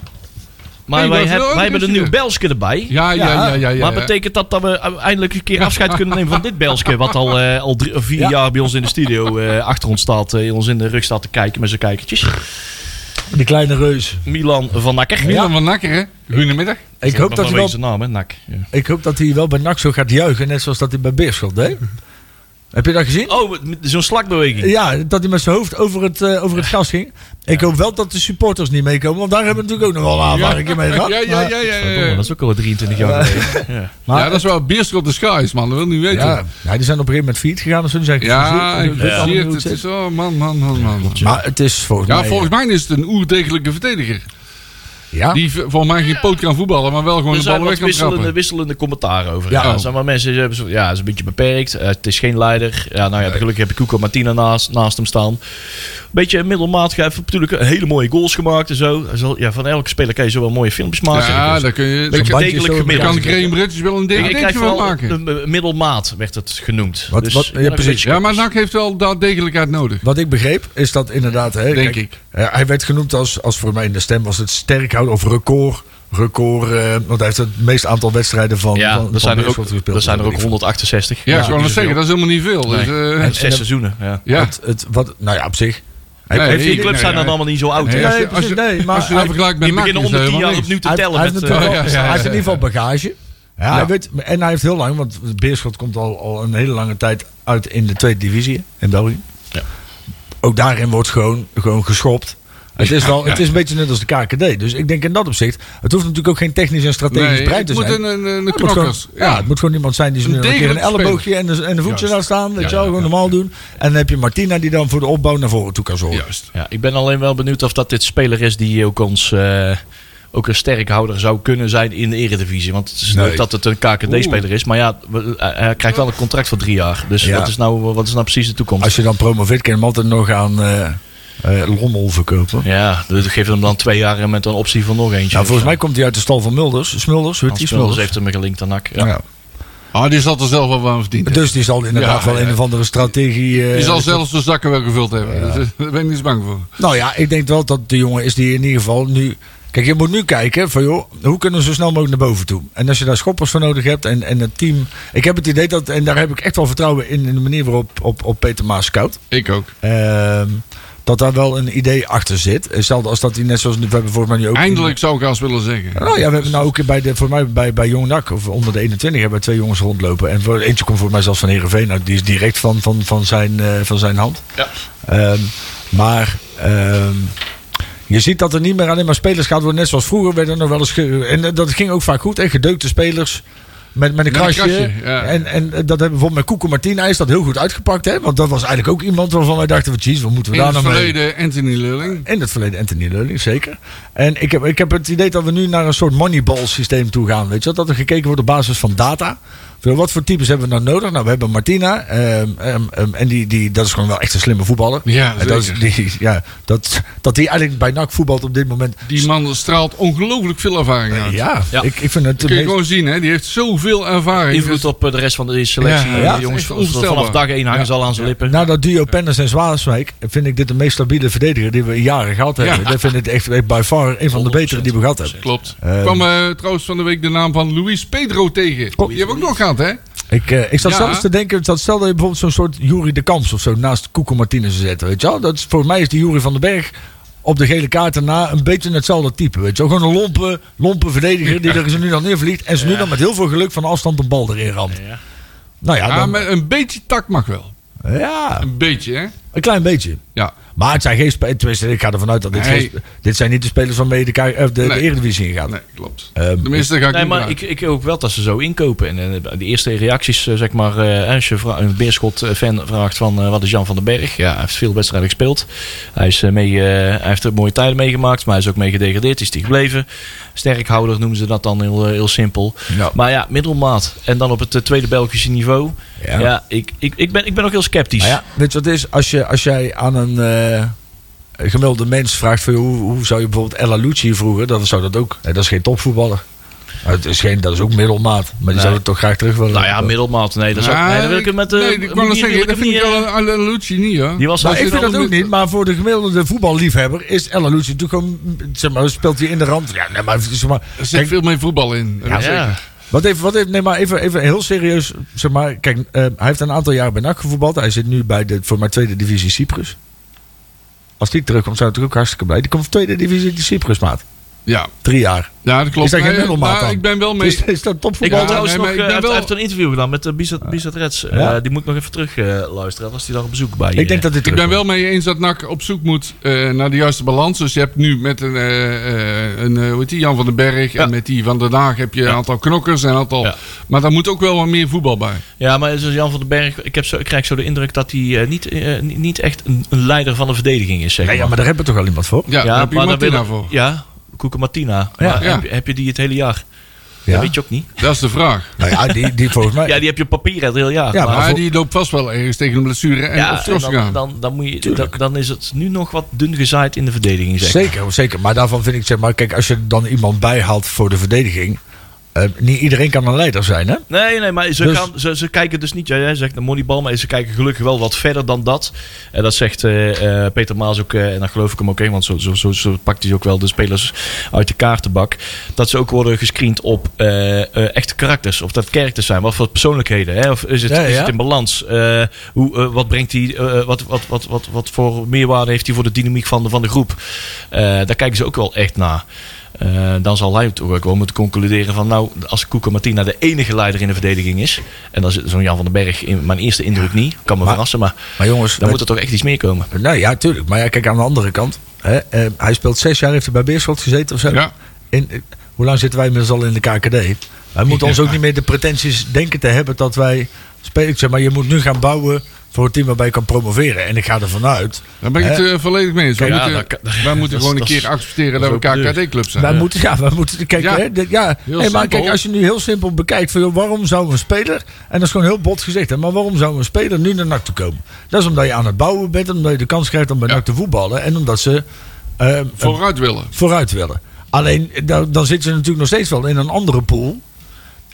Speaker 2: Maar
Speaker 3: Hey,
Speaker 2: wij,
Speaker 3: dat
Speaker 2: heb-
Speaker 3: wil ook
Speaker 2: wij hebben een
Speaker 3: nog
Speaker 2: nieuw
Speaker 3: eens hier.
Speaker 2: Belske erbij.
Speaker 3: Ja, ja, ja, ja. ja,
Speaker 2: Maar
Speaker 3: ja.
Speaker 2: betekent dat dat we eindelijk een keer afscheid kunnen nemen van dit Belske? Wat al, eh, al drie, of vier
Speaker 4: Ja.
Speaker 2: jaar bij ons in de studio eh, achter ons staat. eh, in ons in de rug staat te kijken met zijn kijkertjes.
Speaker 4: die kleine reus.
Speaker 2: Milan van Nakker.
Speaker 3: Milan van Nakker, hè? Goedemiddag.
Speaker 4: Ik hoop dat,
Speaker 2: hij
Speaker 4: hij wel,
Speaker 2: zijn naam, hè? Nak. Ja.
Speaker 4: ik hoop dat hij wel bij NAC zo gaat juichen, net zoals dat hij bij Beerschot deed.
Speaker 3: (laughs)
Speaker 4: Heb je dat gezien?
Speaker 2: Oh, met- met zo'n slakbeweging.
Speaker 4: Ja, dat hij met zijn hoofd over het, eh, over het gas ging. Ik hoop wel dat de supporters niet meekomen, want daar hebben we natuurlijk ook nog wel een aanvaring mee
Speaker 3: ja,
Speaker 4: gehad.
Speaker 3: ja, ja,
Speaker 4: Maar-
Speaker 3: ja, ja,
Speaker 2: Verdomme,
Speaker 3: ja.
Speaker 2: dat is ook al 23 jaar geleden. Ja.
Speaker 4: maar-
Speaker 3: Ja, dat is wel Beerschot de Skies, man. Dat wil niet weten.
Speaker 4: Ja,
Speaker 3: Ja,
Speaker 4: ja, die zijn op een gegeven moment failliet gegaan. Dus hun zijn
Speaker 3: ik
Speaker 4: gefuseerd. Ik weet allemaal niet
Speaker 3: zie
Speaker 4: hoe
Speaker 3: het.
Speaker 4: het
Speaker 3: Het is,
Speaker 4: zit.
Speaker 3: oh, man, man, man, man.
Speaker 4: Maar het is volgens
Speaker 3: Ja,
Speaker 4: mij... eh,
Speaker 3: volgens mij is het een oerdegelijke verdediger.
Speaker 4: ja.
Speaker 3: Die v- volgens mij geen poot kan voetballen, maar wel gewoon
Speaker 2: Er
Speaker 3: de
Speaker 2: zijn wat
Speaker 3: ballen weg kan
Speaker 2: wisselende,
Speaker 3: trappen.
Speaker 2: wisselende commentaar over.
Speaker 4: Ja.
Speaker 2: Ja. Er zijn maar mensen die hebben zo, ja, het is een beetje beperkt. Eh, het is geen leider. Ja, nou ja, gelukkig heb ik Cuco Martina naast, naast hem staan. Beetje middelmatig. Hij heeft natuurlijk hele mooie goals gemaakt en zo. Hij zal- Ja, van elke speler kan je zo wel mooie filmpjes maken.
Speaker 3: Ja,
Speaker 2: Dus
Speaker 3: daar kun je...
Speaker 4: Zo'n
Speaker 3: Daar kan-
Speaker 4: bandje
Speaker 2: degelijk
Speaker 4: zo in
Speaker 2: gemiddeld.
Speaker 4: elkaar
Speaker 3: kan
Speaker 4: zitten.
Speaker 3: Graham Rutjes wel een
Speaker 2: ik- ik
Speaker 3: degelijk
Speaker 2: krijg
Speaker 3: van
Speaker 2: wel
Speaker 3: maken.
Speaker 2: een, eh, middelmaat, werd het genoemd. Dus
Speaker 4: Wat- wat- ja,
Speaker 2: ik ben een
Speaker 4: precies.
Speaker 2: beetje-
Speaker 3: Ja, maar nou- NAC heeft wel daaddegelijkheid nodig.
Speaker 4: Wat ik begreep is dat inderdaad... Hè,
Speaker 3: Denk ik.
Speaker 4: eh, hij werd genoemd als, als voor mij in de stem was het sterkhouder of record. Record, eh, want hij heeft het meest aantal wedstrijden van
Speaker 2: Ja,
Speaker 4: van,
Speaker 2: er
Speaker 4: van
Speaker 2: zijn er
Speaker 4: Beerschot
Speaker 2: ook,
Speaker 4: gespeeld.
Speaker 2: er zijn er ook 168.
Speaker 3: Ja, ik
Speaker 2: zo
Speaker 3: wou nog zeggen, dat is helemaal niet veel. Dus, eh,
Speaker 2: En zes seizoenen. Ja.
Speaker 3: ja.
Speaker 4: Het, het, wat, nou ja, op zich. Hij-
Speaker 3: Nee,
Speaker 4: hij-
Speaker 2: En vier
Speaker 3: ik-
Speaker 2: clubs
Speaker 3: nee,
Speaker 2: zijn dan
Speaker 3: nee.
Speaker 2: allemaal niet zo oud.
Speaker 3: Nee,
Speaker 2: hè?
Speaker 3: als je-
Speaker 4: precies,
Speaker 3: als je-
Speaker 4: nee, maar-
Speaker 3: Als je dat vergelijkt met
Speaker 2: Die
Speaker 3: NAC,
Speaker 2: beginnen
Speaker 3: is
Speaker 2: onder
Speaker 3: dat
Speaker 2: 10 jaar
Speaker 3: helemaal niks.
Speaker 2: opnieuw te
Speaker 4: hij-
Speaker 2: tellen.
Speaker 4: hij heeft
Speaker 2: met, eh,
Speaker 4: natuurlijk wel-
Speaker 3: ja, ja,
Speaker 4: hij
Speaker 3: ja,
Speaker 4: heeft in
Speaker 3: ja.
Speaker 4: ieder geval bagage. Ja, Hij weet, en hij heeft heel lang, want Beerschot komt al, al een hele lange tijd uit in de tweede divisie in België.
Speaker 2: Ja.
Speaker 4: Ook daarin wordt gewoon, gewoon geschopt. Het is, wel, het is een beetje net als de KKD. Dus ik denk in dat opzicht, het hoeft natuurlijk ook geen technisch en strategisch
Speaker 3: Nee,
Speaker 4: brein te
Speaker 3: het moet
Speaker 4: zijn.
Speaker 3: een, een, een
Speaker 4: Het moet gewoon-
Speaker 3: knokkers.
Speaker 4: ja. het moet gewoon iemand zijn die ze
Speaker 3: Een
Speaker 4: nu een keer een
Speaker 3: degelijk speler.
Speaker 4: elleboogje en een, en een voetje
Speaker 3: Juist.
Speaker 4: laat staan. Dat
Speaker 2: Ja,
Speaker 4: je wel
Speaker 2: ja,
Speaker 4: gewoon
Speaker 2: ja,
Speaker 4: normaal doen. En dan heb je Martina die dan voor de opbouw naar voren toe kan zorgen.
Speaker 3: Juist.
Speaker 2: Ja, ik ben alleen wel benieuwd of dat dit speler is die ook ons... eh, ook een sterkhouder zou kunnen zijn in de eredivisie. Want het is
Speaker 4: Nee.
Speaker 2: leuk dat het een KKD-speler is. Maar ja, we- hij- hij krijgt wel een contract van drie jaar. Dus
Speaker 4: Ja.
Speaker 2: wat, is nou, wat is nou precies de toekomst?
Speaker 4: Als je dan promoveert, kun je hem altijd nog aan eh eh, Lommel verkopen.
Speaker 2: Ja, dus geef hem dan twee jaar met een optie voor nog eentje.
Speaker 4: Nou, volgens mij
Speaker 2: Of
Speaker 4: komt hij uit de stal van Mulders. Smulders,
Speaker 2: zo.
Speaker 4: weet
Speaker 2: Hans
Speaker 4: die
Speaker 2: Smulders
Speaker 4: Smulders.
Speaker 2: heeft hem gelinkt aan NAC. Ja.
Speaker 4: Ja.
Speaker 3: Ah, die zal er zelf wel van verdiend. hebben.
Speaker 4: Dus die zal inderdaad
Speaker 3: Ja,
Speaker 4: wel
Speaker 3: ja.
Speaker 4: een of andere strategie... eh,
Speaker 3: Die zal zelfs de zakken wel gevuld hebben. Dus, eh, daar ben ik niet eens bang voor.
Speaker 4: Nou ja, ik denk wel dat de jongen is die in ieder geval nu... Kijk, je moet nu kijken van joh, hoe kunnen we zo snel mogelijk naar boven toe? En als je daar schoppers voor nodig hebt en, en het team... Ik heb het idee dat, en daar heb ik echt wel vertrouwen in, in de manier waarop op, op Peter Maas scout.
Speaker 3: Ik ook.
Speaker 4: Ehm, dat daar wel een idee achter zit. Hetzelfde als dat hij net zoals we hebben volgens mij nu ook...
Speaker 3: Eindelijk zou ik als willen zeggen.
Speaker 4: Nou ja, we hebben nou ook bij de, voor mij bij, bij Jong NAC, of onder de 21, hebben we twee jongens rondlopen. En voor, eentje komt voor mij zelfs van Heerenveen. Nou, die is direct van, van, van, zijn, eh, van zijn hand.
Speaker 2: Ja.
Speaker 4: Ehm, maar ehm, je ziet dat er niet meer alleen maar spelers gaat worden. Net zoals vroeger werden er nog wel eens... ge- en eh, dat ging ook vaak goed. En gedeukte spelers... Met, met een
Speaker 3: Met een
Speaker 4: krasje.
Speaker 3: krasje, ja.
Speaker 4: En, en eh, dat hebben we bijvoorbeeld met Koeko Martina is dat heel goed uitgepakt. Hè? Want dat was eigenlijk ook iemand waarvan wij dachten: van, jeez, wat moeten we
Speaker 3: In
Speaker 4: daar
Speaker 3: het
Speaker 4: nou mee?
Speaker 3: verleden Anthony Lulling.
Speaker 4: In het verleden Anthony Leuning, zeker. En ik heb, ik heb het idee dat we nu naar een soort moneyball systeem toe gaan. Weet je wel? Dat er gekeken wordt op basis van data. Van, Wat voor types hebben we nou nodig? Nou, we hebben Martina. ehm, ehm, ehm, en die, die, dat is gewoon wel echt een slimme voetballer.
Speaker 3: Ja,
Speaker 4: En dat, is,
Speaker 3: zeker.
Speaker 4: die, ja, dat, dat die eigenlijk bij NAC voetbalt op dit moment.
Speaker 3: Die man straalt ongelooflijk veel ervaring uit.
Speaker 4: Ja,
Speaker 2: Ja.
Speaker 4: Ik, ik vind het... de
Speaker 3: Kun je
Speaker 4: meest-
Speaker 3: gewoon zien, hè? die heeft zoveel ervaring.
Speaker 2: Invloed
Speaker 3: Dus-
Speaker 2: op eh, de rest van de selectie.
Speaker 3: Ja,
Speaker 2: eh,
Speaker 4: ja, Nou,
Speaker 2: de jongens,
Speaker 3: echt
Speaker 2: vanaf
Speaker 3: onvoorstelbaar.
Speaker 2: dag één hangen
Speaker 3: Ja.
Speaker 2: ze al aan zijn lippen.
Speaker 4: Na dat duo Penners en Zwaaswijk vind ik dit de meest stabiele verdediger die we in jaren gehad hebben.
Speaker 3: Ja.
Speaker 4: Dat vind ik echt, echt by far een van de betere die we gehad hebben.
Speaker 3: Klopt. Ik
Speaker 4: Ehm.
Speaker 3: kwam eh, trouwens van de week de naam van Luis Pedro tegen.
Speaker 4: Klopt.
Speaker 3: Die hebben we ook nog gehad, hè?
Speaker 4: Ik, eh, ik zat
Speaker 3: Ja.
Speaker 4: zelfs te denken, dat stel dat je bijvoorbeeld zo'n soort Jury de Kamps of zo naast Koeko Martinez zou zetten, weet je wel? Dat is, voor mij is die Jury van den Berg op de gele kaart daarna een beetje hetzelfde type, weet je wel? Gewoon een lompe, lompe verdediger die er ze nu dan neervliegt en ze nu dan met heel veel geluk van afstand een bal erin ramt.
Speaker 2: Ja.
Speaker 4: Nou ja,
Speaker 3: Ja,
Speaker 4: dan,
Speaker 3: maar een beetje tak mag wel.
Speaker 4: ja,
Speaker 3: Een beetje, hè?
Speaker 4: een klein beetje.
Speaker 3: Ja.
Speaker 4: Maar het zijn geen spelers. Tenminste, ik ga ervan uit dat dit,
Speaker 3: Nee.
Speaker 4: geen spe- dit zijn niet de spelers waarmee de, K- of de, de
Speaker 3: Nee.
Speaker 4: Eredivisie ingaat.
Speaker 3: Nee, klopt.
Speaker 4: Eh,
Speaker 3: De Tenminste, ga ik
Speaker 2: Nee,
Speaker 3: niet
Speaker 2: maar
Speaker 3: vragen.
Speaker 2: ik, ik hoop wel dat ze zo inkopen. En eh, de eerste reacties, eh, zeg maar, eh, als je vra- een Beerschot-fan vraagt van eh, wat is Jan van den Berg? Ja, hij heeft veel wedstrijden gespeeld. Hij, is, eh, mee, eh, hij heeft er mooie tijden meegemaakt, maar hij is ook mee gedegradeerd. Is hij gebleven. Sterkhouder noemen ze dat dan heel, eh, heel simpel.
Speaker 4: Ja.
Speaker 2: Maar ja, middelmaat. En dan op het eh, tweede Belgische niveau.
Speaker 4: Ja.
Speaker 2: Ja, ik, ik, ik, ben, ik ben ook heel sceptisch.
Speaker 4: Maar ja, weet je wat het is? Als, je, als jij aan een eh, gemiddelde mens vraagt van, hoe, hoe zou je bijvoorbeeld Ella Lucci vroeger, dan zou dat ook. Hè, dat is geen topvoetballer. Het is geen, dat is ook middelmaat. Maar die zou het toch graag terug willen.
Speaker 2: Nou ja, middelmaat. Nee, dat, is ook, nee, dat wil ik hem met... eh,
Speaker 3: Nee, ik
Speaker 2: die-
Speaker 3: wou nog
Speaker 2: die wil
Speaker 3: zeggen,
Speaker 2: ik
Speaker 3: dat
Speaker 2: hem
Speaker 3: vind ik
Speaker 2: niet, eh,
Speaker 3: wel aan Lucci niet, hoor.
Speaker 2: Die was
Speaker 4: Maar
Speaker 2: al...
Speaker 3: Als
Speaker 4: ik
Speaker 3: je
Speaker 4: vind dat
Speaker 3: dan
Speaker 4: ook
Speaker 3: met-
Speaker 4: niet. Maar voor de gemiddelde voetballiefhebber is Ella Lucci natuurlijk gewoon... Zeg maar, speelt hij in de rand. Ja, nee, maar, zeg maar,
Speaker 3: Er zit veel meer voetbal in.
Speaker 2: Ja,
Speaker 3: zeker.
Speaker 4: Wat even, wat even, nee, maar even, even heel serieus. Zeg maar, kijk, eh, hij heeft een aantal jaar bij NAC gevoetbald. Hij zit nu bij de, voor mijn tweede divisie Cyprus. Als die terugkomt, zijn we natuurlijk ook hartstikke blij. Die komt van tweede divisie die Cyprus, maat.
Speaker 3: Ja.
Speaker 4: Drie jaar.
Speaker 3: ja, dat klopt.
Speaker 4: Is dat geen
Speaker 3: Nee,
Speaker 4: middelmaat
Speaker 3: maar
Speaker 4: dan?
Speaker 3: ik ben wel mee.
Speaker 4: Is, is dat
Speaker 2: Oh, Ik wil
Speaker 4: topvoetbal?
Speaker 3: Ja,
Speaker 2: trouwens
Speaker 3: nee,
Speaker 2: nog,
Speaker 3: maar ik
Speaker 2: eh,
Speaker 3: ben
Speaker 2: hij
Speaker 3: wel-
Speaker 2: heeft een interview gedaan met eh, Bizet, Bizet Reds. Eh,
Speaker 4: Ja.
Speaker 2: die moet ik nog even terug eh, luisteren als hij daar op bezoek bij
Speaker 4: ik denk dat dit
Speaker 3: Ik ben
Speaker 4: terugkomt.
Speaker 3: wel mee eens dat NAC op zoek moet eh, naar de juiste balans. Dus je hebt nu met een, eh, eh, een eh, hoe heet die, Jan van den Berg en met die van den Daag heb je een aantal knokkers en een aantal...
Speaker 2: Ja.
Speaker 3: Maar daar moet ook wel wat meer voetbal bij.
Speaker 2: Ja, maar zoals Jan van den Berg, ik, heb zo, ik krijg zo de indruk dat hij eh, niet, eh, niet niet echt een, een leider van de verdediging is. Zeg
Speaker 4: Nee, ja,
Speaker 2: maar.
Speaker 4: maar daar hebben we toch al iemand voor?
Speaker 3: Ja, daar heb je
Speaker 2: daar
Speaker 3: Martina
Speaker 2: wil-
Speaker 3: voor.
Speaker 2: Ja, Koeken Martina.
Speaker 4: Ja.
Speaker 2: Maar
Speaker 3: Ja.
Speaker 2: Heb, je- heb je die het hele jaar?
Speaker 4: Ja.
Speaker 2: Dat weet je ook niet.
Speaker 3: Dat is de vraag.
Speaker 4: Nou ja, die, die volgens mij...
Speaker 2: (laughs) Ja, die heb je op papier het hele jaar.
Speaker 4: Ja,
Speaker 3: Maar,
Speaker 4: maar voor-
Speaker 3: die loopt vast wel ergens tegen een blessure en
Speaker 2: ja,
Speaker 3: op
Speaker 2: en
Speaker 3: straf
Speaker 2: dan,
Speaker 3: gaan.
Speaker 2: dan, dan, moet je, dan, dan is het nu nog wat dun gezaaid in de verdediging. Zeg.
Speaker 4: Zeker, zeker. Maar daarvan vind ik, zeg maar, kijk, als je dan iemand bijhaalt voor de verdediging... eh, niet iedereen kan een leider zijn, hè?
Speaker 2: Nee, nee, maar ze,
Speaker 4: Dus-
Speaker 2: gaan, ze, ze kijken dus niet. ja, Jij zegt de moneyball, maar ze kijken gelukkig wel wat verder dan dat. En dat zegt eh, eh, Peter Maas ook, eh, en daar geloof ik hem ook in, want zo, zo, zo, zo pakt hij ook wel de spelers uit de kaartenbak. Dat ze ook worden gescreend op eh, eh, echte karakters, of dat characters zijn, wat voor persoonlijkheden. Hè? Of is het,
Speaker 4: Ja,
Speaker 2: Dus is
Speaker 4: ja.
Speaker 2: het in balans? Eh, hoe, eh, wat brengt hij, eh, wat, wat, wat, wat, wat voor meerwaarde heeft hij voor de dynamiek van de, van de groep? Eh, daar kijken ze ook wel echt naar. Eh, dan zal hij toch ook wel moeten concluderen van... nou, als Koeko Martina de enige leider in de verdediging is... en dan zit zo'n Jan van den Berg in mijn eerste indruk niet... kan me
Speaker 4: Maar-
Speaker 2: verrassen, maar
Speaker 4: Maar jongens...
Speaker 2: dan
Speaker 4: weet-
Speaker 2: moet er toch echt iets meer komen.
Speaker 4: Nou ja, tuurlijk. Maar ja, kijk, aan de andere kant. Hè, eh, hij speelt zes jaar, heeft hij bij Beerschot gezeten of zo.
Speaker 3: Ja.
Speaker 4: In, eh, hoe lang zitten wij inmiddels al in de KKD? Wij moeten ons ook niet meer de pretenties denken te hebben dat wij spelen. Ik zeg maar, je moet nu gaan bouwen voor een team waarbij je kan promoveren. En ik ga ervan uit.
Speaker 3: Daar ben ik het
Speaker 4: hè,
Speaker 3: eh, volledig mee eens. Wij
Speaker 2: Ja,
Speaker 3: moeten,
Speaker 2: dat kan-
Speaker 3: wij moeten
Speaker 2: (laughs) dat
Speaker 3: gewoon een
Speaker 2: is-
Speaker 3: keer accepteren
Speaker 2: dat
Speaker 3: dat
Speaker 2: is
Speaker 3: we
Speaker 2: ook de deur.
Speaker 3: KKD-club zijn.
Speaker 4: wij moeten, ja, wij moeten kijken.
Speaker 3: Ja.
Speaker 4: hè, dit- ja.
Speaker 3: Heel
Speaker 4: Nee, maar
Speaker 3: simpel.
Speaker 4: kijk, als je nu heel simpel bekijkt, van, joh, waarom zou een speler, en dat is gewoon heel bot gezegd, hè, maar waarom zou een speler nu naar NAC toe komen? Dat is omdat je aan het bouwen bent, omdat je de kans krijgt om bij
Speaker 3: Ja.
Speaker 4: NAC te voetballen en omdat ze eh,
Speaker 3: Vooruit willen.
Speaker 4: vooruit willen. Alleen dan, dan zitten ze natuurlijk nog steeds wel in een andere pool.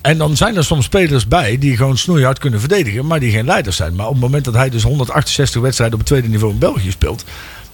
Speaker 4: En dan zijn er soms spelers bij die gewoon snoeihard kunnen verdedigen, maar die geen leiders zijn. Maar op het moment dat hij dus 168 wedstrijden op het tweede niveau in België speelt.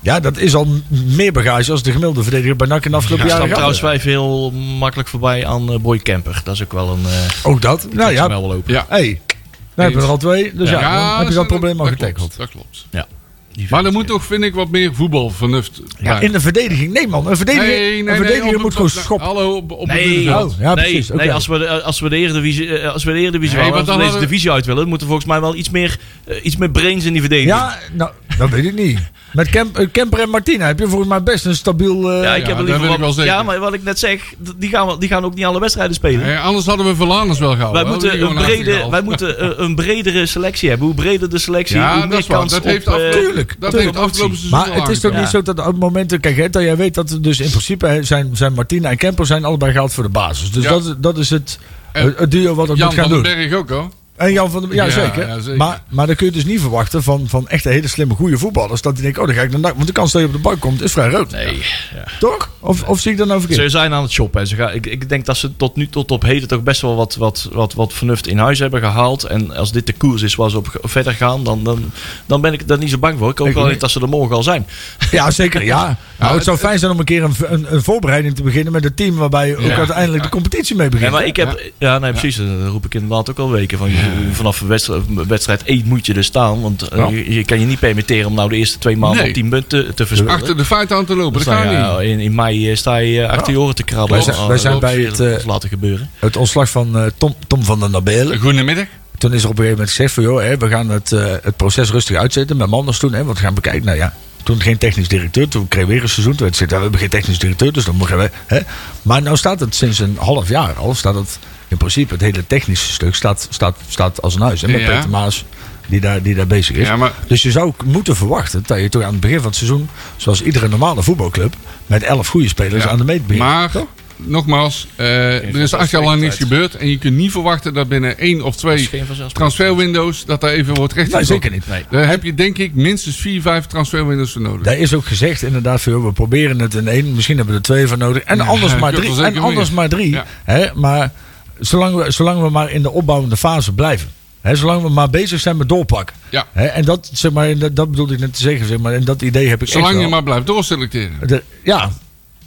Speaker 4: Ja, dat is al m- meer bagage als de gemiddelde verdediger bij NAC in de afgelopen
Speaker 2: Ik
Speaker 4: jaren.
Speaker 2: stap
Speaker 4: gehad
Speaker 2: trouwens wij heel makkelijk voorbij aan eh, Boy Kemper. Dat is ook wel een... eh,
Speaker 4: heeft. Ook dat. Nou
Speaker 2: dat is
Speaker 4: ja,
Speaker 2: wel open.
Speaker 3: Ja.
Speaker 4: hey, daar hebben we er al twee. Dus ja,
Speaker 3: Ja,
Speaker 4: dan heb je dat
Speaker 3: zijn-
Speaker 4: probleem al
Speaker 3: klopt,
Speaker 4: getackled.
Speaker 3: Dat klopt.
Speaker 2: Ja. Die
Speaker 3: Maar er
Speaker 2: vindt-
Speaker 3: moet toch, vind ik, wat meer voetbalvernuft
Speaker 4: Ja,
Speaker 3: bij.
Speaker 4: in de verdediging. Nee man, een verdediger, een verdediger moet
Speaker 3: op het-
Speaker 4: gewoon
Speaker 3: op-
Speaker 4: schoppen.
Speaker 3: Hallo, op, op het
Speaker 2: Nee,
Speaker 3: middenveld.
Speaker 4: Oh, ja,
Speaker 2: nee,
Speaker 4: precies, oké.
Speaker 2: nee als, we de, als we de Eredivisie, eh, als we de Eredivisie
Speaker 3: Nee,
Speaker 2: willen,
Speaker 3: want
Speaker 2: als we
Speaker 3: dan
Speaker 2: deze
Speaker 3: hadden-
Speaker 2: divisie uit willen... moeten we volgens mij wel iets meer, eh, iets meer brains in die verdediging.
Speaker 4: Ja, nou, dat weet ik niet. Met Kemp, eh, Kemper en Martina heb je volgens mij best een stabiel... eh,
Speaker 2: Ja, ik
Speaker 3: Ja,
Speaker 2: heb er
Speaker 3: daar
Speaker 2: liever
Speaker 3: ben ik wel
Speaker 2: wat,
Speaker 3: zeker.
Speaker 2: ja, maar wat ik net zeg, d- die gaan, we- die gaan ook niet alle wedstrijden spelen.
Speaker 3: Hey, anders hadden we Verlaners oh, wel gehouden.
Speaker 2: Wij
Speaker 3: Hadden we
Speaker 2: moeten,
Speaker 3: die
Speaker 2: een
Speaker 3: gewoon
Speaker 2: brede,
Speaker 3: uitgehaald.
Speaker 2: wij moeten eh, een bredere selectie hebben. Hoe breder de selectie, hoe
Speaker 3: Ja,
Speaker 2: meer
Speaker 3: dat is waar.
Speaker 2: kans
Speaker 3: Dat
Speaker 2: op...
Speaker 3: heeft
Speaker 2: eh,
Speaker 3: afgelopen,
Speaker 4: tuurlijk,
Speaker 3: dat
Speaker 4: tuurlijk.
Speaker 3: heeft afgelopen seizoen
Speaker 4: Maar
Speaker 3: al
Speaker 4: het is toch
Speaker 2: Ja.
Speaker 4: niet zo dat op momenten... Kijk, hè, dat jij weet dat er dus in principe hè, zijn, zijn Martina en Kemper zijn allebei gehaald voor de basis. Dus
Speaker 3: Ja.
Speaker 4: dat, dat is het,
Speaker 3: En
Speaker 4: het duo wat het
Speaker 3: aangepakt.
Speaker 4: moet
Speaker 3: Jan
Speaker 4: gaan
Speaker 3: van den
Speaker 4: doen.
Speaker 3: Berg ook, hoor.
Speaker 4: En Jan van de, ja,
Speaker 3: Ja,
Speaker 4: zeker.
Speaker 3: ja, zeker.
Speaker 4: Maar, maar dan kun je dus niet verwachten van, van echt hele slimme, goede voetballers. Dat die denken, oh, dan ga ik naar NAC. Want de kans dat je op de bank komt is vrij rood.
Speaker 2: Nee, ja.
Speaker 4: Toch? Of, of zie ik dat nou verkeerd?
Speaker 2: Ze zijn aan het shoppen. En ze gaan, ik, ik denk dat ze tot nu tot op heden toch best wel wat, wat, wat, wat vernuft in huis hebben gehaald. En als dit de koers is waar ze op ge- verder gaan, dan, dan, dan ben ik daar niet zo bang voor. Ik hoop
Speaker 4: Ik
Speaker 2: wel
Speaker 4: niet.
Speaker 2: niet dat ze er morgen al zijn.
Speaker 4: Ja, zeker. Ja. Nou, het
Speaker 3: het-
Speaker 4: zou fijn zijn om een keer een, een, een voorbereiding te beginnen met een team waarbij je ook uiteindelijk de competitie mee
Speaker 2: Ja,
Speaker 4: begint.
Speaker 2: maar ik heb, ja, nee, precies. Dat roep ik inderdaad ook al weken. Van, je- vanaf wedstrijd, wedstrijd 1 moet je er staan. Want eh,
Speaker 4: Ja.
Speaker 2: je, je kan je niet permitteren om nou de eerste twee maanden
Speaker 3: Nee.
Speaker 2: op 10 punten te verspillen.
Speaker 3: Achter de feiten aan te lopen,
Speaker 2: Dus
Speaker 3: dat
Speaker 2: dan,
Speaker 3: kan niet.
Speaker 2: ja, in, in mei eh, sta je eh, achter je oren te krabben.
Speaker 4: Wij zijn-
Speaker 2: Oh,
Speaker 4: wij zijn
Speaker 2: dat
Speaker 4: bij
Speaker 2: is
Speaker 4: het,
Speaker 2: weer
Speaker 4: eh,
Speaker 2: wat laten gebeuren.
Speaker 4: Het ontslag van eh, Tom, Tom van der Nabelen.
Speaker 3: Goedemiddag.
Speaker 4: Toen is er op een gegeven moment gezegd van joh, hè, we gaan het, eh, het proces rustig uitzetten met Manders toen. Hè, want we gaan bekijken. Nou ja, Toen geen technisch directeur, toen kreeg weer een seizoen. Toen werd gezegd, ja, we hebben geen technisch directeur, dus dan mogen we... Hè? Maar nou staat het sinds een half jaar al, staat het in principe het hele technische stuk staat, staat, staat als een huis. En met
Speaker 3: Ja.
Speaker 4: Peter Maas die daar, die daar bezig is.
Speaker 3: Ja, maar-
Speaker 4: Dus je zou ook moeten verwachten dat je toch aan het begin van het seizoen, zoals iedere normale voetbalclub, met elf goede spelers
Speaker 3: Ja,
Speaker 4: aan de meet begint.
Speaker 3: Maar, nogmaals, eh, er is acht jaar lang niks gebeurd. En je kunt niet verwachten dat binnen één of
Speaker 2: is
Speaker 3: twee
Speaker 2: geen vanzelfsprekend.
Speaker 3: transferwindows... dat daar even wordt
Speaker 4: Nee,
Speaker 3: rechtgetrokken.
Speaker 4: zeker niet.
Speaker 3: Daar heb je denk ik minstens vier, vijf transferwindows voor nodig.
Speaker 4: Daar is ook gezegd inderdaad van, joh, we proberen het in één. Misschien hebben we er twee van nodig. En
Speaker 3: Ja, (laughs)
Speaker 4: anders maar
Speaker 3: ik heb er
Speaker 4: drie. En
Speaker 3: zeker
Speaker 4: anders
Speaker 3: meer.
Speaker 4: maar drie.
Speaker 3: Ja.
Speaker 4: Hè, maar zolang we, zolang we maar in de opbouwende fase blijven. Hè, zolang we maar bezig zijn met doorpakken.
Speaker 3: Ja.
Speaker 4: Hè, en dat, zeg maar, en dat, dat bedoelde ik net te zeggen. Zeg maar, en dat idee heb ik echt
Speaker 3: Zolang je
Speaker 4: wel.
Speaker 3: maar blijft doorselecteren.
Speaker 4: De- ja.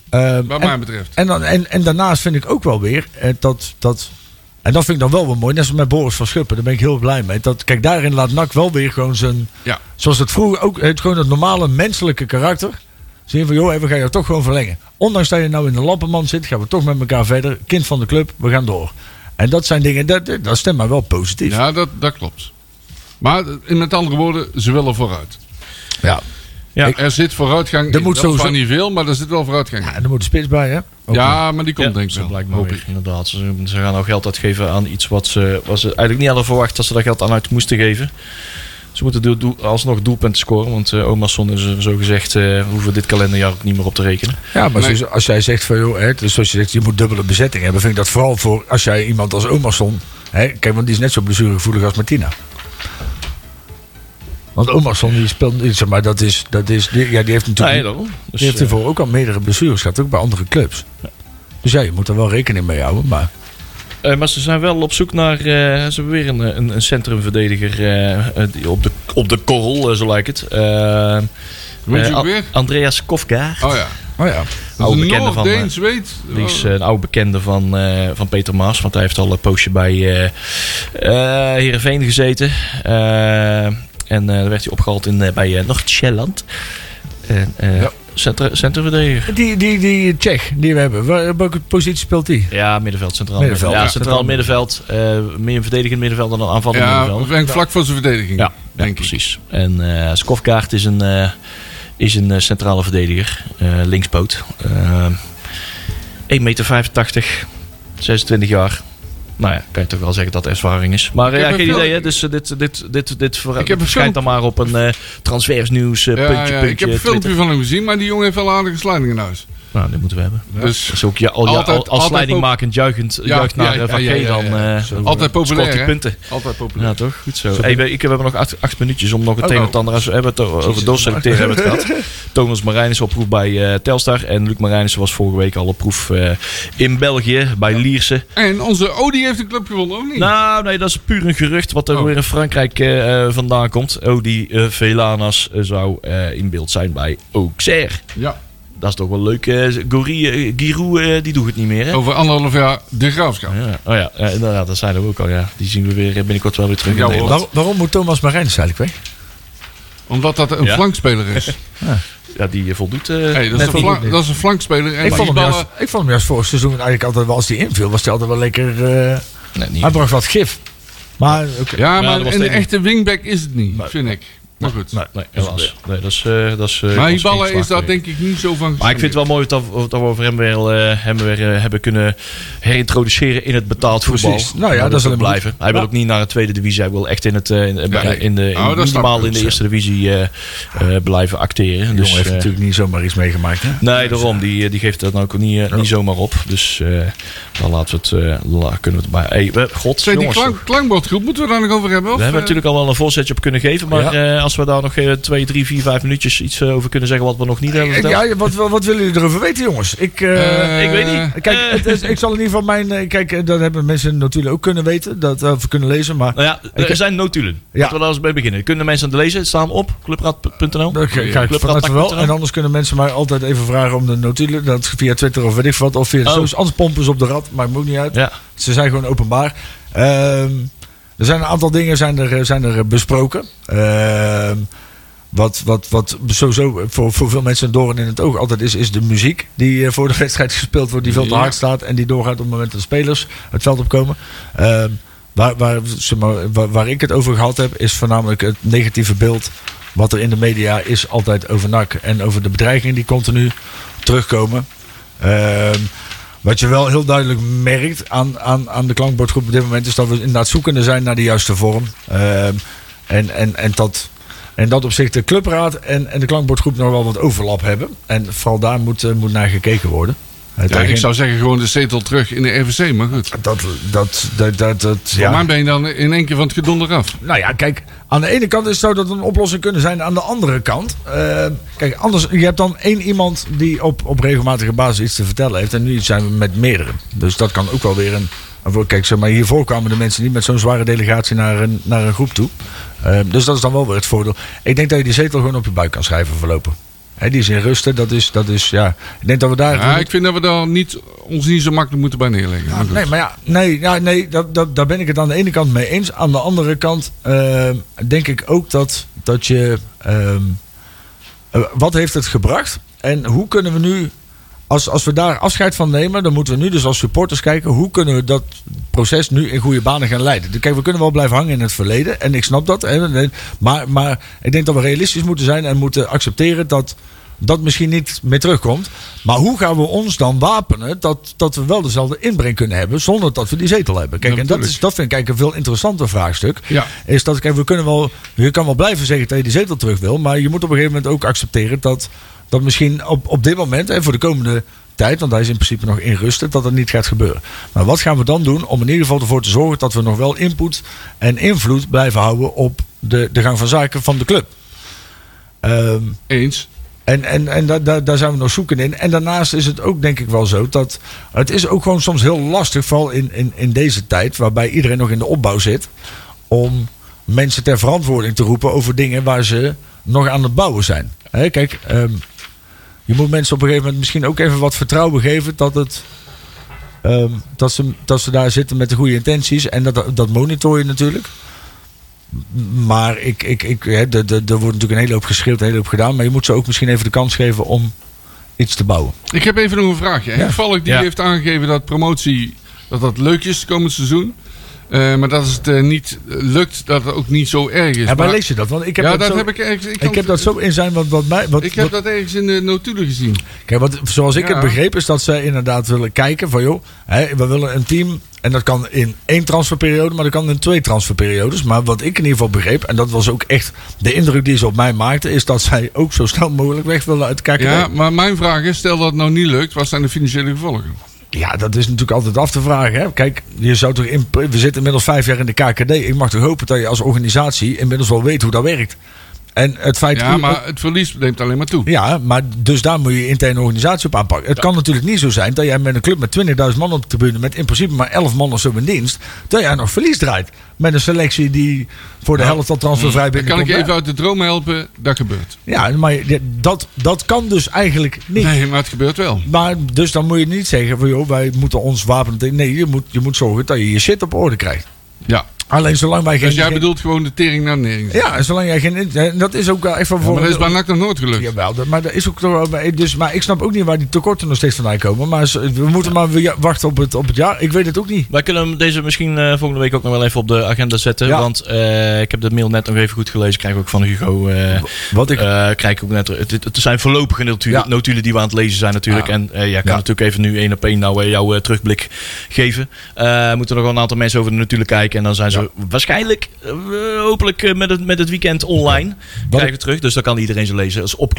Speaker 4: Ehm,
Speaker 3: Wat
Speaker 4: en-
Speaker 3: mij betreft.
Speaker 4: En, dan, en, en daarnaast vind ik ook wel weer eh, dat, dat. En dat vind ik dan wel weer mooi. Net als met Boris van Schuppen. Daar ben ik heel blij mee. Dat, kijk, daarin laat NAC wel weer gewoon zijn.
Speaker 3: Ja.
Speaker 4: Zoals het vroeger ook. Het, gewoon het normale menselijke karakter. Zie je van, joh, hey, we gaan jou toch gewoon verlengen. Ondanks dat je nou in de lappenman zit, gaan we toch met elkaar verder. Kind van de club, we gaan door. En dat zijn dingen, dat, dat stemt mij wel positief.
Speaker 3: Ja, dat, dat klopt. Maar eh, met andere woorden, ze willen vooruit.
Speaker 4: ja.
Speaker 2: Ja.
Speaker 3: Er zit vooruitgang
Speaker 4: Er
Speaker 3: in.
Speaker 4: moet
Speaker 3: Wel
Speaker 4: sowieso-
Speaker 3: van niet veel, maar er zit wel vooruitgang
Speaker 4: Ja,
Speaker 3: in.
Speaker 4: en er moet de spits bij, hè? Ook nog.
Speaker 3: Ja, maar die komt
Speaker 2: Ja,
Speaker 3: denk ik
Speaker 2: zo
Speaker 3: wel.
Speaker 2: blijkt maar
Speaker 3: Hoop
Speaker 2: weer,
Speaker 3: ik.
Speaker 2: inderdaad. Ze, ze gaan nou geld uitgeven aan iets wat ze, wat ze eigenlijk niet hadden verwacht dat ze daar geld aan uit moesten geven. Ze moeten doel, doel- alsnog doelpunten scoren, want eh Omerson is er zo gezegd, eh hoeven we dit kalenderjaar ook niet meer op te rekenen.
Speaker 4: Ja, maar
Speaker 3: Nee.
Speaker 4: zoals- als jij zegt van joh, hè, dus zoals je zegt, je moet dubbele bezetting hebben, vind ik dat vooral voor als jij iemand als Omerson. Hè, kijk, want die is net zo blessuregevoelig als Martina. Want Omerson die speelt, die- zeg maar, dat is, dat is, die, ja, die heeft natuurlijk,
Speaker 2: Nee,
Speaker 4: die
Speaker 2: daarom. Dus,
Speaker 4: heeft
Speaker 2: eh,
Speaker 4: ervoor ook al meerdere blessures gehad, ook bij andere clubs. Dus ja, je moet er wel rekening mee houden, maar
Speaker 2: Eh, maar ze zijn wel op zoek naar. eh, ze hebben weer een, een, een centrumverdediger eh, eh, die op, de, op de korrel, eh, zo lijkt het. Eh,
Speaker 3: Hoe heet
Speaker 2: eh,
Speaker 3: je ook weer?
Speaker 2: A- Andreas Kofka.
Speaker 3: Oh ja.
Speaker 4: oh ja,
Speaker 3: Dat
Speaker 2: Oude
Speaker 3: is een Oh.
Speaker 2: bekende van, eh,
Speaker 3: Noord-Deens weet.
Speaker 2: Die is eh, een oude bekende van, eh, van Peter Maas. Want hij heeft al een poosje bij eh eh, Heerenveen gezeten. Eh, en eh dan werd hij opgehaald in, eh, bij eh Noord-Sjælland. En, eh,
Speaker 4: Ja.
Speaker 2: centra- Centrumverdediger.
Speaker 4: die, die, die Tsjech die we hebben, waar- welke positie speelt die?
Speaker 2: Ja, middenveld, centraal
Speaker 4: Middenveld,
Speaker 2: middenveld. Ja,
Speaker 4: ja.
Speaker 2: centraal middenveld. eh, meer verdedigend middenveld dan een aanvallend
Speaker 3: ja,
Speaker 2: middenveld.
Speaker 3: Henk vlak voor zijn verdediging.
Speaker 2: Ja, ja,
Speaker 3: denk ik.
Speaker 2: precies. En eh Skofkaart is een, eh, is een eh, centrale verdediger. eh, linkspoot. Eh 1,85 meter, 26 jaar. Nou ja, kan je toch wel zeggen dat ervaring is. Maar eh,
Speaker 3: Ik
Speaker 2: ja,
Speaker 3: heb
Speaker 2: geen
Speaker 3: een
Speaker 2: idee.
Speaker 3: film-
Speaker 2: Hè? Dus eh, dit, dit, dit, dit ver-
Speaker 3: Ik heb een
Speaker 2: verschijnt dan maar op een eh transfersnieuws eh,
Speaker 3: Ja,
Speaker 2: puntje,
Speaker 3: ja,
Speaker 2: puntje.
Speaker 3: ik heb een
Speaker 2: Twitter.
Speaker 3: filmpje van hem gezien, maar die jongen heeft wel aardige sliding in huis.
Speaker 2: Nou, dit moeten we hebben.
Speaker 3: Dus
Speaker 2: Dat is ook ja, al, ja,
Speaker 3: Altijd-
Speaker 2: al, als
Speaker 3: altijd
Speaker 2: leidingmakend juichend,
Speaker 3: Ja,
Speaker 2: juicht naar
Speaker 3: ja,
Speaker 2: eh, Van
Speaker 3: ja, ja,
Speaker 2: G
Speaker 3: ja,
Speaker 2: dan.
Speaker 3: ja.
Speaker 2: eh, dan
Speaker 3: altijd
Speaker 2: scoort
Speaker 3: populair.
Speaker 2: hij
Speaker 3: hè?
Speaker 2: punten.
Speaker 3: Altijd populair.
Speaker 2: Ja, toch? Goed zo. Hey, we, ik, we hebben nog acht, acht minuutjes om
Speaker 3: Oh,
Speaker 2: nog het een en het ander... We hebben het over over doorselecteren hebben we
Speaker 3: (laughs)
Speaker 2: het gehad. Thomas Marijnis op proef bij eh, Telstar. En Luc Marijnissen was vorige week al op proef eh, in België, bij Lierse.
Speaker 3: En onze Odi heeft een club gewonnen, of niet?
Speaker 2: Nou, nee, dat is puur een gerucht wat er
Speaker 3: Oh.
Speaker 2: weer in Frankrijk eh, eh, vandaan komt. Odi eh, Velanas eh, zou eh, in beeld zijn bij Auxerre.
Speaker 3: ja.
Speaker 2: Dat is toch wel leuk. eh Goury, eh, Giroud, eh, die doet het niet meer, hè?
Speaker 3: Over anderhalf jaar de graafschap.
Speaker 2: Ja, oh ja, eh, inderdaad, dat zeiden we ook al. Ja. Die zien we weer eh, binnenkort wel weer terug
Speaker 3: Ja,
Speaker 2: in
Speaker 3: hoor.
Speaker 2: Nederland.
Speaker 4: Waar- waarom moet Thomas Marijnis eigenlijk weg?
Speaker 3: Omdat dat een
Speaker 2: Ja.
Speaker 3: flankspeler
Speaker 2: (laughs)
Speaker 3: is.
Speaker 2: Ja, die eh, voldoet. eh,
Speaker 3: Hey, dat,
Speaker 2: net
Speaker 3: is een
Speaker 2: voldoet
Speaker 3: flank,
Speaker 2: niet.
Speaker 3: dat is een flankspeler. En
Speaker 4: Ik vond,
Speaker 3: die
Speaker 4: hem
Speaker 3: ballen,
Speaker 4: juist, ik vond hem juist vorig seizoen eigenlijk altijd wel, als hij inviel, was hij altijd wel lekker, eh,
Speaker 2: Nee, niet.
Speaker 3: Ah,
Speaker 4: hij bracht wat gif. Maar oké.
Speaker 3: ja,
Speaker 2: Ja,
Speaker 3: maar
Speaker 2: dat was
Speaker 3: een
Speaker 2: tegen-
Speaker 3: echte wingback is het niet, vind ik. Maar goed.
Speaker 2: Nee, nee, helaas. Nee, dat is, eh, dat is, eh,
Speaker 3: maar
Speaker 2: dat
Speaker 3: die
Speaker 2: is
Speaker 3: ballen
Speaker 2: geen
Speaker 3: is daar
Speaker 2: zwaar
Speaker 3: denk ik niet zo van
Speaker 2: Maar ik vind het wel mooi dat, dat we over hem weer, eh, hem weer eh, hebben kunnen herintroduceren in het betaald voetbal.
Speaker 4: Precies. Nou ja,
Speaker 2: Hij wil
Speaker 4: dat is
Speaker 2: ook
Speaker 4: alleen maar
Speaker 2: blijven. Hij wil
Speaker 4: Ja.
Speaker 2: ook niet naar de tweede divisie. Hij wil echt in het eh, in, in-
Speaker 3: Ja,
Speaker 2: in de in,
Speaker 3: nou, dat snap
Speaker 2: minimaal
Speaker 3: ik.
Speaker 2: in de eerste divisie eh, eh, blijven acteren.
Speaker 4: De
Speaker 2: Dus,
Speaker 4: jongen heeft
Speaker 2: eh,
Speaker 4: natuurlijk niet zomaar iets meegemaakt. Hè?
Speaker 2: nee, daarom. Die, eh, die geeft dat nou ook niet, eh, niet zomaar op. Dus eh dan laten we het, eh, la- kunnen we het maar. Hey, we- God,
Speaker 3: Zeg, die
Speaker 2: jongens,
Speaker 3: klank, klankbordgroep moeten we daar nog over hebben? Of,
Speaker 2: We hebben
Speaker 3: eh,
Speaker 2: natuurlijk al wel een voorzetje op kunnen geven. Maar
Speaker 4: Ja.
Speaker 2: eh, als we daar nog eh, twee, drie, vier, vijf minuutjes iets eh, over kunnen zeggen wat we nog niet hebben verteld.
Speaker 4: Ja, wat, wat, wat willen jullie erover weten, jongens? Ik, eh,
Speaker 3: eh,
Speaker 2: ik weet niet.
Speaker 4: kijk,
Speaker 2: eh.
Speaker 4: het is- ik zal in ieder geval mijn. eh, Kijk, eh, dat hebben mensen natuurlijk ook kunnen weten, dat, eh, of kunnen lezen. Maar
Speaker 2: (laughs) Nou ja, er
Speaker 4: Ik-
Speaker 2: zijn notulen.
Speaker 4: Ja.
Speaker 2: Laten we daar eens mee beginnen. Kunnen mensen aan het lezen? Het staan op clubraad.nl.
Speaker 4: daar ga- ga ik vanuit wel. En anders kunnen mensen mij altijd even vragen om de notulen. Dat via Twitter of weet ik wat. Of via
Speaker 2: Oh.
Speaker 4: socials. Anders pompen ze op de rat, maar het moet niet uit.
Speaker 2: Ja,
Speaker 4: Ze zijn gewoon openbaar. Ehm, er zijn een aantal dingen zijn er, eh, zijn er besproken. Ehm, wat, wat, wat sowieso voor, voor veel mensen een doorn in het oog altijd is, is de muziek die eh, voor de (laughs) wedstrijd gespeeld wordt, die veel te
Speaker 3: Ja.
Speaker 4: hard staat en die doorgaat op het moment dat de spelers het veld opkomen. Ehm, waar, waar, zeg maar, waar, waar ik het over gehad heb, is voornamelijk het negatieve beeld wat er in de media is altijd over NAC en over de bedreigingen die continu terugkomen. Ehm, wat je wel heel duidelijk merkt aan, aan, aan de klankbordgroep op dit moment is dat we inderdaad zoekende zijn naar de juiste vorm. Ehm, en, en, en dat. En dat op zich de clubraad en, en de klankbordgroep nog wel wat overlap hebben. En vooral daar moet, eh, moet naar gekeken worden. Het
Speaker 3: Ja, ik
Speaker 4: eigen-
Speaker 3: zou zeggen gewoon de zetel terug in de RVC, maar goed.
Speaker 4: dat, dat, dat, dat, dat,
Speaker 3: Ja.
Speaker 4: ja.
Speaker 3: Maar ben je dan in één keer van het gedonder af.
Speaker 4: Nou ja, kijk, aan de ene kant is het zo dat het een oplossing kunnen zijn. Aan de andere kant, eh, kijk, anders, je hebt dan één iemand die op, op regelmatige basis iets te vertellen heeft. En nu zijn we met meerdere. Dus dat kan ook wel weer een. een voor- Kijk, zeg maar, hiervoor kwamen de mensen niet met zo'n zware delegatie naar een, naar een groep toe. Eh, dus dat is dan wel weer het voordeel. Ik denk dat je die zetel gewoon op je buik kan schrijven voorlopig. Hè, die is in rusten, dat is, dat is, ja. Ik denk dat we daar...
Speaker 3: Ja, ik vind dat we daar niet, ons niet zo makkelijk moeten bij neerleggen. Maar goed.
Speaker 4: Nee, maar ja, nee, ja, nee dat, dat, daar ben ik het aan de ene kant mee eens. Aan de andere kant ehm, denk ik ook dat, dat je. ehm, eh, wat heeft het gebracht? En hoe kunnen we nu. Als, als we daar afscheid van nemen, dan moeten we nu dus als supporters kijken hoe kunnen we dat proces nu in goede banen gaan leiden. Dus Kijk, we kunnen wel blijven hangen in het verleden en ik snap dat. hè, nee, Maar, maar ik denk dat we realistisch moeten zijn en moeten accepteren dat dat misschien niet meer terugkomt. Maar hoe gaan we ons dan wapenen dat, dat we wel dezelfde inbreng kunnen hebben zonder dat we die zetel hebben? Kijk,
Speaker 3: Ja,
Speaker 4: en dat,
Speaker 3: natuurlijk.
Speaker 4: is, Dus dat vind ik eigenlijk een veel interessanter vraagstuk.
Speaker 3: Ja.
Speaker 4: Is dat, kijk, we kunnen wel, je kan wel blijven zeggen dat je die zetel terug wil, maar je moet op een gegeven moment ook accepteren dat, dat misschien op, op dit moment en voor de komende tijd, want hij is in principe nog in rusten, dat dat niet gaat gebeuren. Maar wat gaan we dan doen om in ieder geval ervoor te zorgen dat we nog wel input en invloed blijven houden op de, de gang van zaken van de club? Ehm
Speaker 3: Eens.
Speaker 4: en, en, en daar daar daar zijn we nog zoeken in. En daarnaast is het ook denk ik wel zo dat het is ook gewoon soms heel lastig, vooral in, in, in deze tijd, waarbij iedereen nog in de opbouw zit, om mensen ter verantwoording te roepen over dingen waar ze nog aan het bouwen zijn. Hè, kijk, ehm, je moet mensen op een gegeven moment misschien ook even wat vertrouwen geven dat het. ehm, dat, ze, dat ze daar zitten met de goede intenties. En dat, dat monitor je natuurlijk. Maar ik, ik, ik, hè, de- de- er wordt natuurlijk een hele hoop geschreeuwd, een hele hoop gedaan. Maar je moet ze ook misschien even de kans geven om iets te bouwen.
Speaker 3: Ik heb even nog een vraagje. Henk Valk die
Speaker 2: Ja.
Speaker 3: heeft aangegeven dat promotie dat dat leuk is komend seizoen. Eh, maar dat als het eh, niet lukt, dat het ook niet zo erg is.
Speaker 4: Ja,
Speaker 3: Maar-
Speaker 4: waar lees je dat? Want ik heb
Speaker 3: ja,
Speaker 4: dat,
Speaker 3: dat
Speaker 4: zo,
Speaker 3: heb ik ergens. Ik,
Speaker 4: ik
Speaker 3: kan-
Speaker 4: heb dat zo in zijn. Want wat mij, wat,
Speaker 3: ik heb
Speaker 4: wat-
Speaker 3: dat ergens in de notulen gezien.
Speaker 4: kijk, wat, zoals ik
Speaker 3: Ja.
Speaker 4: het begreep, is dat zij inderdaad willen kijken van joh, hè, we willen een team. En dat kan in één transferperiode, maar dat kan in twee transferperiodes. Maar wat ik in ieder geval begreep, en dat was ook echt de indruk die ze op mij maakten, is dat zij ook zo snel mogelijk weg willen uit KKD.
Speaker 3: Ja, maar mijn vraag is: stel dat het nou niet lukt, wat zijn de financiële gevolgen?
Speaker 4: Ja, dat is natuurlijk altijd af te vragen. Hè? Kijk, je zou toch in, we zitten inmiddels vijf jaar in de KKD. Ik mag toch hopen dat je als organisatie inmiddels wel weet hoe dat werkt. En het feit.
Speaker 3: Ja, maar het verlies neemt alleen maar toe.
Speaker 4: Ja, maar dus daar moet je je interne organisatie op aanpakken. Het kan natuurlijk niet zo zijn dat jij met een club met 20.000 man op de tribune... met in principe maar 11 man of zo in dienst... dat jij nog verlies draait. Met een selectie die voor de helft al transfervrij
Speaker 3: Mm. Dan kan
Speaker 4: binnenkomt.
Speaker 3: ik je even uit de droom helpen, dat gebeurt.
Speaker 4: Ja, maar je- dat, dat kan dus eigenlijk niet.
Speaker 3: Nee, maar het gebeurt wel.
Speaker 4: Maar dus dan moet je niet zeggen van joh, wij moeten ons wapen. Nee, je moet, je moet zorgen dat je je shit op orde krijgt.
Speaker 3: Ja.
Speaker 4: Alleen zolang wij geen.
Speaker 3: Dus jij
Speaker 4: geen-
Speaker 3: bedoelt gewoon de tering naar de nering.
Speaker 4: Ja, zolang jij geen. in- en Dat is ook wel echt van voor.
Speaker 3: maar dat is bij NAC nog nooit gelukt.
Speaker 4: Jawel, dat- maar, dat is ook toch wel bij- dus, maar ik snap ook niet waar die tekorten nog steeds vandaan komen. Maar ze- we moeten maar weer wachten op het, op het jaar. Ik weet het ook niet.
Speaker 2: Wij kunnen hem deze misschien eh, volgende week ook nog wel even op de agenda zetten.
Speaker 4: Ja.
Speaker 2: Want eh, ik heb de mail net nog even goed gelezen. Krijg ik ook van Hugo. eh,
Speaker 4: Wat ik.
Speaker 2: eh, krijg ik ook net, het, het- het zijn voorlopige notulen,
Speaker 4: Ja.
Speaker 2: notulen die we aan het lezen zijn natuurlijk. En eh ja, ik kan
Speaker 4: Ja.
Speaker 2: natuurlijk even nu één op één nou, eh, jouw eh, terugblik geven. Eh moeten nog wel een aantal mensen over de notulen kijken. En dan zijn ze waarschijnlijk, eh, hopelijk eh, met, het, met het weekend online. Krijgen we terug. Dus dan kan iedereen ze lezen. Dat is op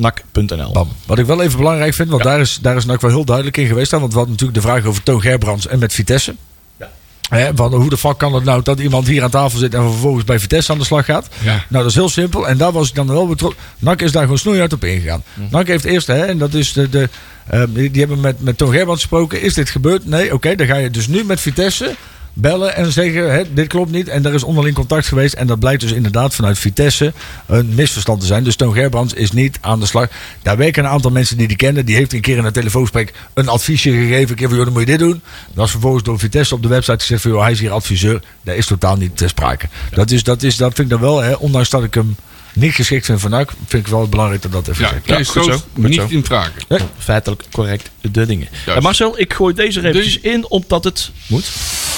Speaker 2: clubraadnak.nl.
Speaker 4: Bam. Wat ik wel even belangrijk vind, want
Speaker 2: Ja.
Speaker 4: daar is, daar is NAC wel heel duidelijk in geweest. Hè? Want we hadden natuurlijk de vraag over Toon Gerbrands en met Vitesse.
Speaker 2: Ja.
Speaker 4: Hè, van hoe de fuck kan het nou dat iemand hier aan tafel zit en vervolgens bij Vitesse aan de slag gaat?
Speaker 3: Ja.
Speaker 4: Nou, dat is heel simpel. En daar was ik dan wel betrokken. NAC is daar gewoon snoeihard op ingegaan. NAC heeft eerst, hè, en dat is de. de eh, die, die hebben met, met Toon Gerbrands gesproken. Is dit gebeurd? Nee, oké. dan ga je dus nu met Vitesse bellen en zeggen: hè, dit klopt niet. En er is onderling contact geweest. En dat blijkt dus inderdaad vanuit Vitesse een misverstand te zijn. Dus Toon Gerbrands is niet aan de slag. Daar werken een aantal mensen die die kennen. Die heeft een keer in een telefoonsprek een adviesje gegeven. Een keer van: joh, dan moet je dit doen. Dat is vervolgens door Vitesse op de website gezegd: van joh, hij is hier adviseur. Daar is totaal niet ter sprake. Dat, is, dat, is, dat vind ik dan wel, hè, ondanks dat ik hem niet geschikt vind van NAC, vind ik wel belangrijk dat dat even
Speaker 3: Ja,
Speaker 4: gezegd wordt.
Speaker 2: Ja,
Speaker 3: Kees
Speaker 2: goed zo,
Speaker 3: Troost,
Speaker 2: goed
Speaker 3: niet
Speaker 2: zo.
Speaker 3: in vragen.
Speaker 2: Feitelijk correct de dingen.
Speaker 3: Juist.
Speaker 2: Eh, Marcel, ik gooi deze er eventjes
Speaker 3: Die-
Speaker 2: in omdat het moet.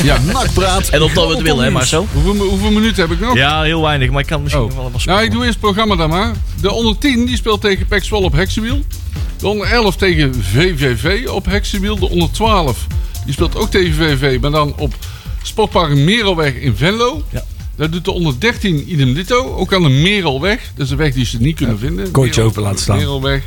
Speaker 3: Ja.
Speaker 1: Nakpraat.
Speaker 2: En op dat we het willen, hè, maar zo.
Speaker 3: Hoeveel, mi- hoeveel minuten heb ik nog?
Speaker 2: Ja, heel weinig, maar ik kan misschien
Speaker 3: Oh.
Speaker 2: nog wel wat
Speaker 3: Nou, ik doe eerst het programma dan maar. De onder 10 die speelt tegen Pek Zwolle op Heksenwiel. De onder 11 tegen VVV op Heksenwiel. De onder 12 die speelt ook tegen VVV, maar dan op Sportpark Merelweg in Venlo.
Speaker 2: Ja.
Speaker 3: Daar doet de onder 13 idem dito. Ook aan de Merelweg. Dat is de weg die ze niet kunnen vinden.
Speaker 4: kooitje
Speaker 3: Merel-
Speaker 4: open laten staan.
Speaker 3: Merelweg.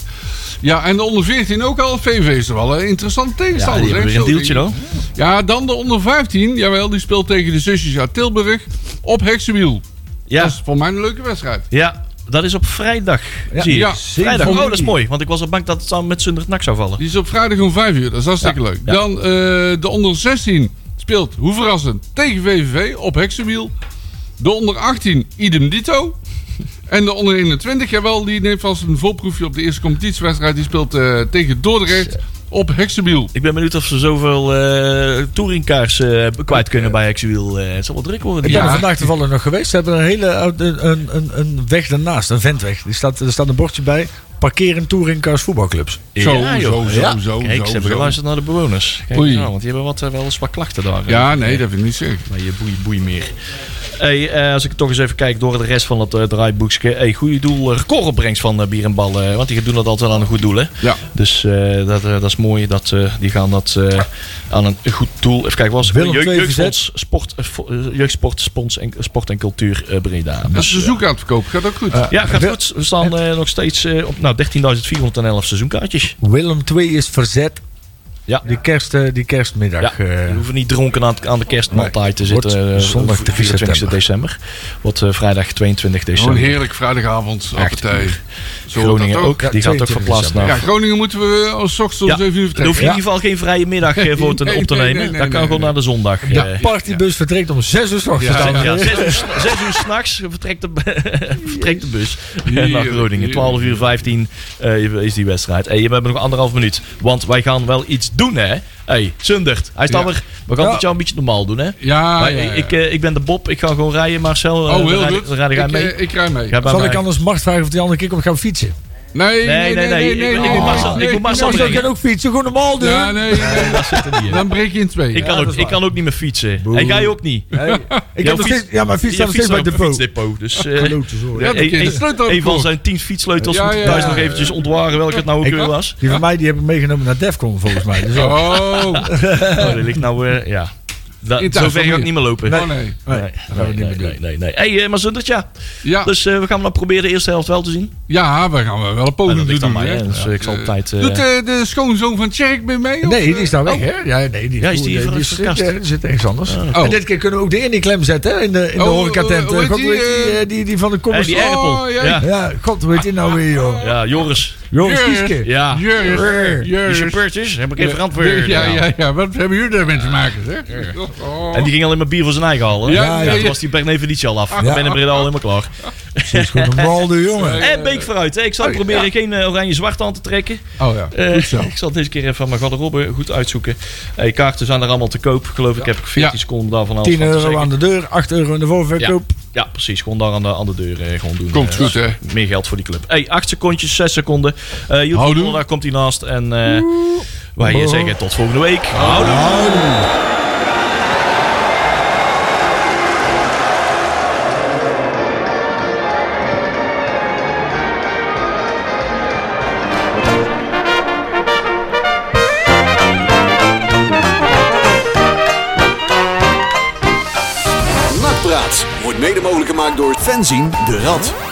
Speaker 3: Ja, en de onder 14 ook al. VV is er wel een interessante
Speaker 2: Ja,
Speaker 3: tegenstander.
Speaker 2: die hebben
Speaker 3: hè?
Speaker 2: weer een
Speaker 3: Zo
Speaker 2: deeltje,
Speaker 3: tegen-
Speaker 2: hoor.
Speaker 3: Ja, dan de onder 15. Jawel, die speelt tegen de zusjes uit Tilburg op Heksenwiel.
Speaker 2: Ja.
Speaker 3: Dat is voor mij een leuke wedstrijd.
Speaker 2: Ja, dat is op vrijdag.
Speaker 4: Ja.
Speaker 2: zie je.
Speaker 3: Ja,
Speaker 2: vrijdag. Oh,
Speaker 4: zeven
Speaker 2: dat is
Speaker 4: juni.
Speaker 2: mooi. Want ik was al bang dat het samen met Sundert Nak zou vallen.
Speaker 3: Die is op vrijdag om 5 uur. Dat is hartstikke
Speaker 2: Ja,
Speaker 3: leuk.
Speaker 2: ja.
Speaker 3: Dan eh, de onder 16 speelt, hoe verrassend, tegen VVV op Heksenwiel. De onder 18 idem dito. En de onder 21, jawel, die neemt vast een voorproefje op de eerste competitiewedstrijd. Die speelt eh, tegen Dordrecht op Heksenwiel.
Speaker 2: Ik ben benieuwd of ze zoveel eh touringkaars eh, kwijt kunnen bij Hexwiel. Eh, het zal wel druk worden.
Speaker 4: Ik
Speaker 2: die
Speaker 4: ben er
Speaker 2: avond.
Speaker 4: vandaag toevallig nog geweest. Ze hebben een hele oude- een, een, een weg daarnaast, een ventweg. Die staat, er staat een bordje bij. Parkeer in touringcars voetbalclubs.
Speaker 3: Zo,
Speaker 2: Ja, joh.
Speaker 3: zo, zo,
Speaker 4: Ja.
Speaker 3: zo,
Speaker 2: Kijk, ze
Speaker 3: zo,
Speaker 2: hebben
Speaker 3: zo.
Speaker 2: geluisterd naar de bewoners. Kijk,
Speaker 3: Oei.
Speaker 2: nou, want die hebben wat, eh, wel eens wat klachten daar.
Speaker 3: Ja, nee, dat vind ik niet zeker.
Speaker 2: Maar je boei, boei meer. Hey, eh, als ik toch eens even kijk door de rest van het eh, draaiboekje. Hey, goede doel, eh, recordopbrengst van eh, Bier en Bal. eh, want die doen dat altijd aan een goed doel. Hè?
Speaker 3: Ja.
Speaker 2: Dus eh, dat, eh, dat is mooi. Dat, eh, die gaan dat eh, aan een goed doel. Even kijken, was
Speaker 4: Willem II
Speaker 2: jeugdsport, sport, eh, vo- eh, jeugdsport, spons en, sport en cultuur eh, Breda.
Speaker 3: Dat
Speaker 2: Dus,
Speaker 3: is de zoek aan het verkopen. Gaat ook goed.
Speaker 2: ja, gaat
Speaker 4: Wil-
Speaker 2: goed. We staan eh, nog steeds eh, op nou, 13.411 seizoenkaartjes.
Speaker 4: Willem II is verzet.
Speaker 2: Ja.
Speaker 4: Die, kerst, eh, die kerstmiddag.
Speaker 2: Ja,
Speaker 4: eh,
Speaker 2: we hoeven niet dronken aan, aan de kerstmaaltijd te
Speaker 4: Nee,
Speaker 2: zitten.
Speaker 4: wordt
Speaker 2: eh,
Speaker 4: zondag
Speaker 2: v-
Speaker 4: 3
Speaker 2: 24 december. Wordt eh, vrijdag 22
Speaker 3: Gewoon
Speaker 2: december.
Speaker 3: heerlijk vrijdagavond.
Speaker 2: Echt.
Speaker 3: Appetij. Zo hoort
Speaker 2: Groningen
Speaker 3: dat
Speaker 2: ook.
Speaker 3: ook.
Speaker 4: Ja,
Speaker 2: die gaat ook
Speaker 4: 22
Speaker 2: verplaatst
Speaker 4: december.
Speaker 2: naar...
Speaker 3: Ja, Groningen moeten we eh, als ochtends om
Speaker 2: Ja,
Speaker 3: 7 uur
Speaker 2: Daar hoef
Speaker 3: vertrekken.
Speaker 2: je in ieder geval geen vrije middag eh, voor te,
Speaker 3: Nee,
Speaker 2: op te
Speaker 3: nee,
Speaker 2: nemen.
Speaker 3: nee, nee,
Speaker 2: dat kan
Speaker 3: nee,
Speaker 2: gewoon
Speaker 3: nee.
Speaker 2: naar de zondag. eh.
Speaker 4: De partybus vertrekt om 6 uur Dus 's ochtends.
Speaker 3: Ja,
Speaker 4: dames en
Speaker 2: Ja,
Speaker 4: heren.
Speaker 2: zes uur, zes uur s'nachts vertrekt de, (laughs) vertrekt de bus naar Groningen. 12 uur 15 eh, is die wedstrijd. Hey, we hebben nog anderhalf minuut. Want wij gaan wel iets doen, hè? Hey, Sundert, hij staat
Speaker 3: Ja.
Speaker 2: er. We gaan
Speaker 4: Ja.
Speaker 2: het jou een beetje normaal doen, hè?
Speaker 3: Ja,
Speaker 2: Maar
Speaker 3: ja, ja.
Speaker 2: Ik, eh, ik ben de Bob, ik ga gewoon rijden, Marcel. eh,
Speaker 3: Oh,
Speaker 2: dan
Speaker 3: heel
Speaker 2: rijd-
Speaker 3: goed.
Speaker 2: Dan rijd
Speaker 3: ik,
Speaker 2: jij mee.
Speaker 3: eh, ik rij mee.
Speaker 2: Ga bij
Speaker 4: Zal
Speaker 2: mij.
Speaker 4: ik anders Mart vragen of die andere keer om gaan fietsen?
Speaker 3: Nee,
Speaker 2: Nee, nee, nee. Ik- ik moet Marcel- ik moet Marcel
Speaker 4: Nou,
Speaker 2: brengen.
Speaker 4: ik kan ook fietsen, gewoon normaal dus. doen.
Speaker 3: Ja, nee, nee.
Speaker 2: Dat zit er niet in.
Speaker 3: Dan breek je in twee.
Speaker 2: Ik kan,
Speaker 4: Ja, dat
Speaker 2: ook,
Speaker 4: is
Speaker 2: ik
Speaker 4: waar.
Speaker 2: kan ook niet meer fietsen.
Speaker 4: Boe.
Speaker 2: En jij ook niet.
Speaker 4: Hey, ik
Speaker 2: Jouw
Speaker 4: heb nog
Speaker 2: fiets-
Speaker 4: steeds, ja, mijn fiets
Speaker 2: Jij
Speaker 4: staat nog steeds bij
Speaker 2: fietst
Speaker 4: het
Speaker 2: ook
Speaker 4: depot.
Speaker 2: op fietsdepot,
Speaker 3: (laughs)
Speaker 2: Dus, eh,
Speaker 4: Klote zooi.
Speaker 3: Ja, dat
Speaker 2: een-
Speaker 3: keer de
Speaker 2: een-
Speaker 3: sleutel
Speaker 2: een van
Speaker 3: voor.
Speaker 2: zijn tien fietssleutels
Speaker 3: Ja,
Speaker 2: moet ik
Speaker 3: ja,
Speaker 2: thuis
Speaker 3: ja,
Speaker 2: nog
Speaker 3: ja.
Speaker 2: eventjes ontwaren welke het nou ook
Speaker 3: Ik
Speaker 2: weer
Speaker 3: ook.
Speaker 2: was.
Speaker 4: Die van mij die heb ik meegenomen naar Defcon volgens mij. Dus ook-
Speaker 3: Oh,
Speaker 2: Oh, die ligt nou, eh, ja. Da,
Speaker 3: In thuis
Speaker 2: zover
Speaker 3: van
Speaker 2: ga ik
Speaker 3: hier.
Speaker 2: niet meer lopen.
Speaker 3: oh nee.
Speaker 4: nee,
Speaker 2: nee,
Speaker 4: dat gaan we niet meer
Speaker 2: nee,
Speaker 4: doen.
Speaker 2: nee, nee, nee. Hey, eh, maar Zundert, ja.
Speaker 3: Ja,
Speaker 2: Dus eh, we gaan hem proberen de eerste helft wel te zien.
Speaker 3: ja, we gaan wel een
Speaker 2: Maar
Speaker 3: poging
Speaker 2: dat ligt
Speaker 3: doen.
Speaker 2: aan mij,
Speaker 3: hè.
Speaker 2: hè, dus eh, ik zal op tijd... eh,
Speaker 3: Doet eh, de schoonzoon van Tjerk mee mee? of,
Speaker 4: Nee, die
Speaker 3: eh?
Speaker 4: is nou weg,
Speaker 3: Oh.
Speaker 4: hè? Ja, nee, die,
Speaker 2: Ja, is
Speaker 4: goed,
Speaker 2: die
Speaker 4: nee,
Speaker 2: ver-
Speaker 4: zit,
Speaker 2: verkast?
Speaker 4: eh, die zit ergens anders.
Speaker 3: Oh.
Speaker 4: En dit keer kunnen we ook de in die klem zetten, hè, in de, in de
Speaker 3: Oh,
Speaker 4: horecatent.
Speaker 3: hoe heet
Speaker 4: God,
Speaker 3: die,
Speaker 4: weet die,
Speaker 3: eh,
Speaker 4: eh, die, die van de
Speaker 2: eh,
Speaker 4: kommers.
Speaker 2: die Erpel.
Speaker 3: Oh, ja.
Speaker 2: ja.
Speaker 4: ja, god, weet je nou weer, joh.
Speaker 2: ja, Joris.
Speaker 4: Joris
Speaker 3: Jurgen.
Speaker 4: Kieske.
Speaker 2: Ja.
Speaker 3: Juris.
Speaker 2: Die
Speaker 3: Juris.
Speaker 2: supporters, heb ik even verantwoord.
Speaker 3: Ja, ja, ja. Wat hebben jullie daarmee te maken, zeg? Oh.
Speaker 2: En die ging alleen maar bier voor zijn eigen halen.
Speaker 3: Ja,
Speaker 2: Ja,
Speaker 4: ja,
Speaker 2: Toen
Speaker 3: ja. Ah.
Speaker 2: was die Bernevenietje al af. Ik ben in Breda al helemaal klaar.
Speaker 4: Die is gewoon een malde jongen.
Speaker 2: En Beek vooruit. hè. Ik zal proberen geen eh, oranje-zwart aan te trekken.
Speaker 3: Oh ja,
Speaker 2: Eh,
Speaker 3: Oh, goed zo.
Speaker 2: (laughs) ik zal deze keer even van mijn garderobe goed uitzoeken. Eh, kaarten zijn er allemaal te koop. Geloof ik heb ik 14
Speaker 3: Ja.
Speaker 2: seconden daarvan alles
Speaker 4: 10
Speaker 2: van te
Speaker 4: euro
Speaker 2: zeggen.
Speaker 4: aan de deur, 8 euro in de voorverkoop.
Speaker 2: Ja, precies. Gewoon daar aan de, aan de deur eh, gewoon doen.
Speaker 3: Komt
Speaker 2: Eh,
Speaker 3: goed, hè?
Speaker 2: Meer geld voor die club. Hey, 8 secondjes, 6 seconden. Eh
Speaker 3: Houdoe.
Speaker 2: YouTube, daar komt hij naast. En eh, wij eh, zeggen tot volgende week. Houden.
Speaker 1: Nakpraat wordt mede mogelijk gemaakt door Fenzin de Rad.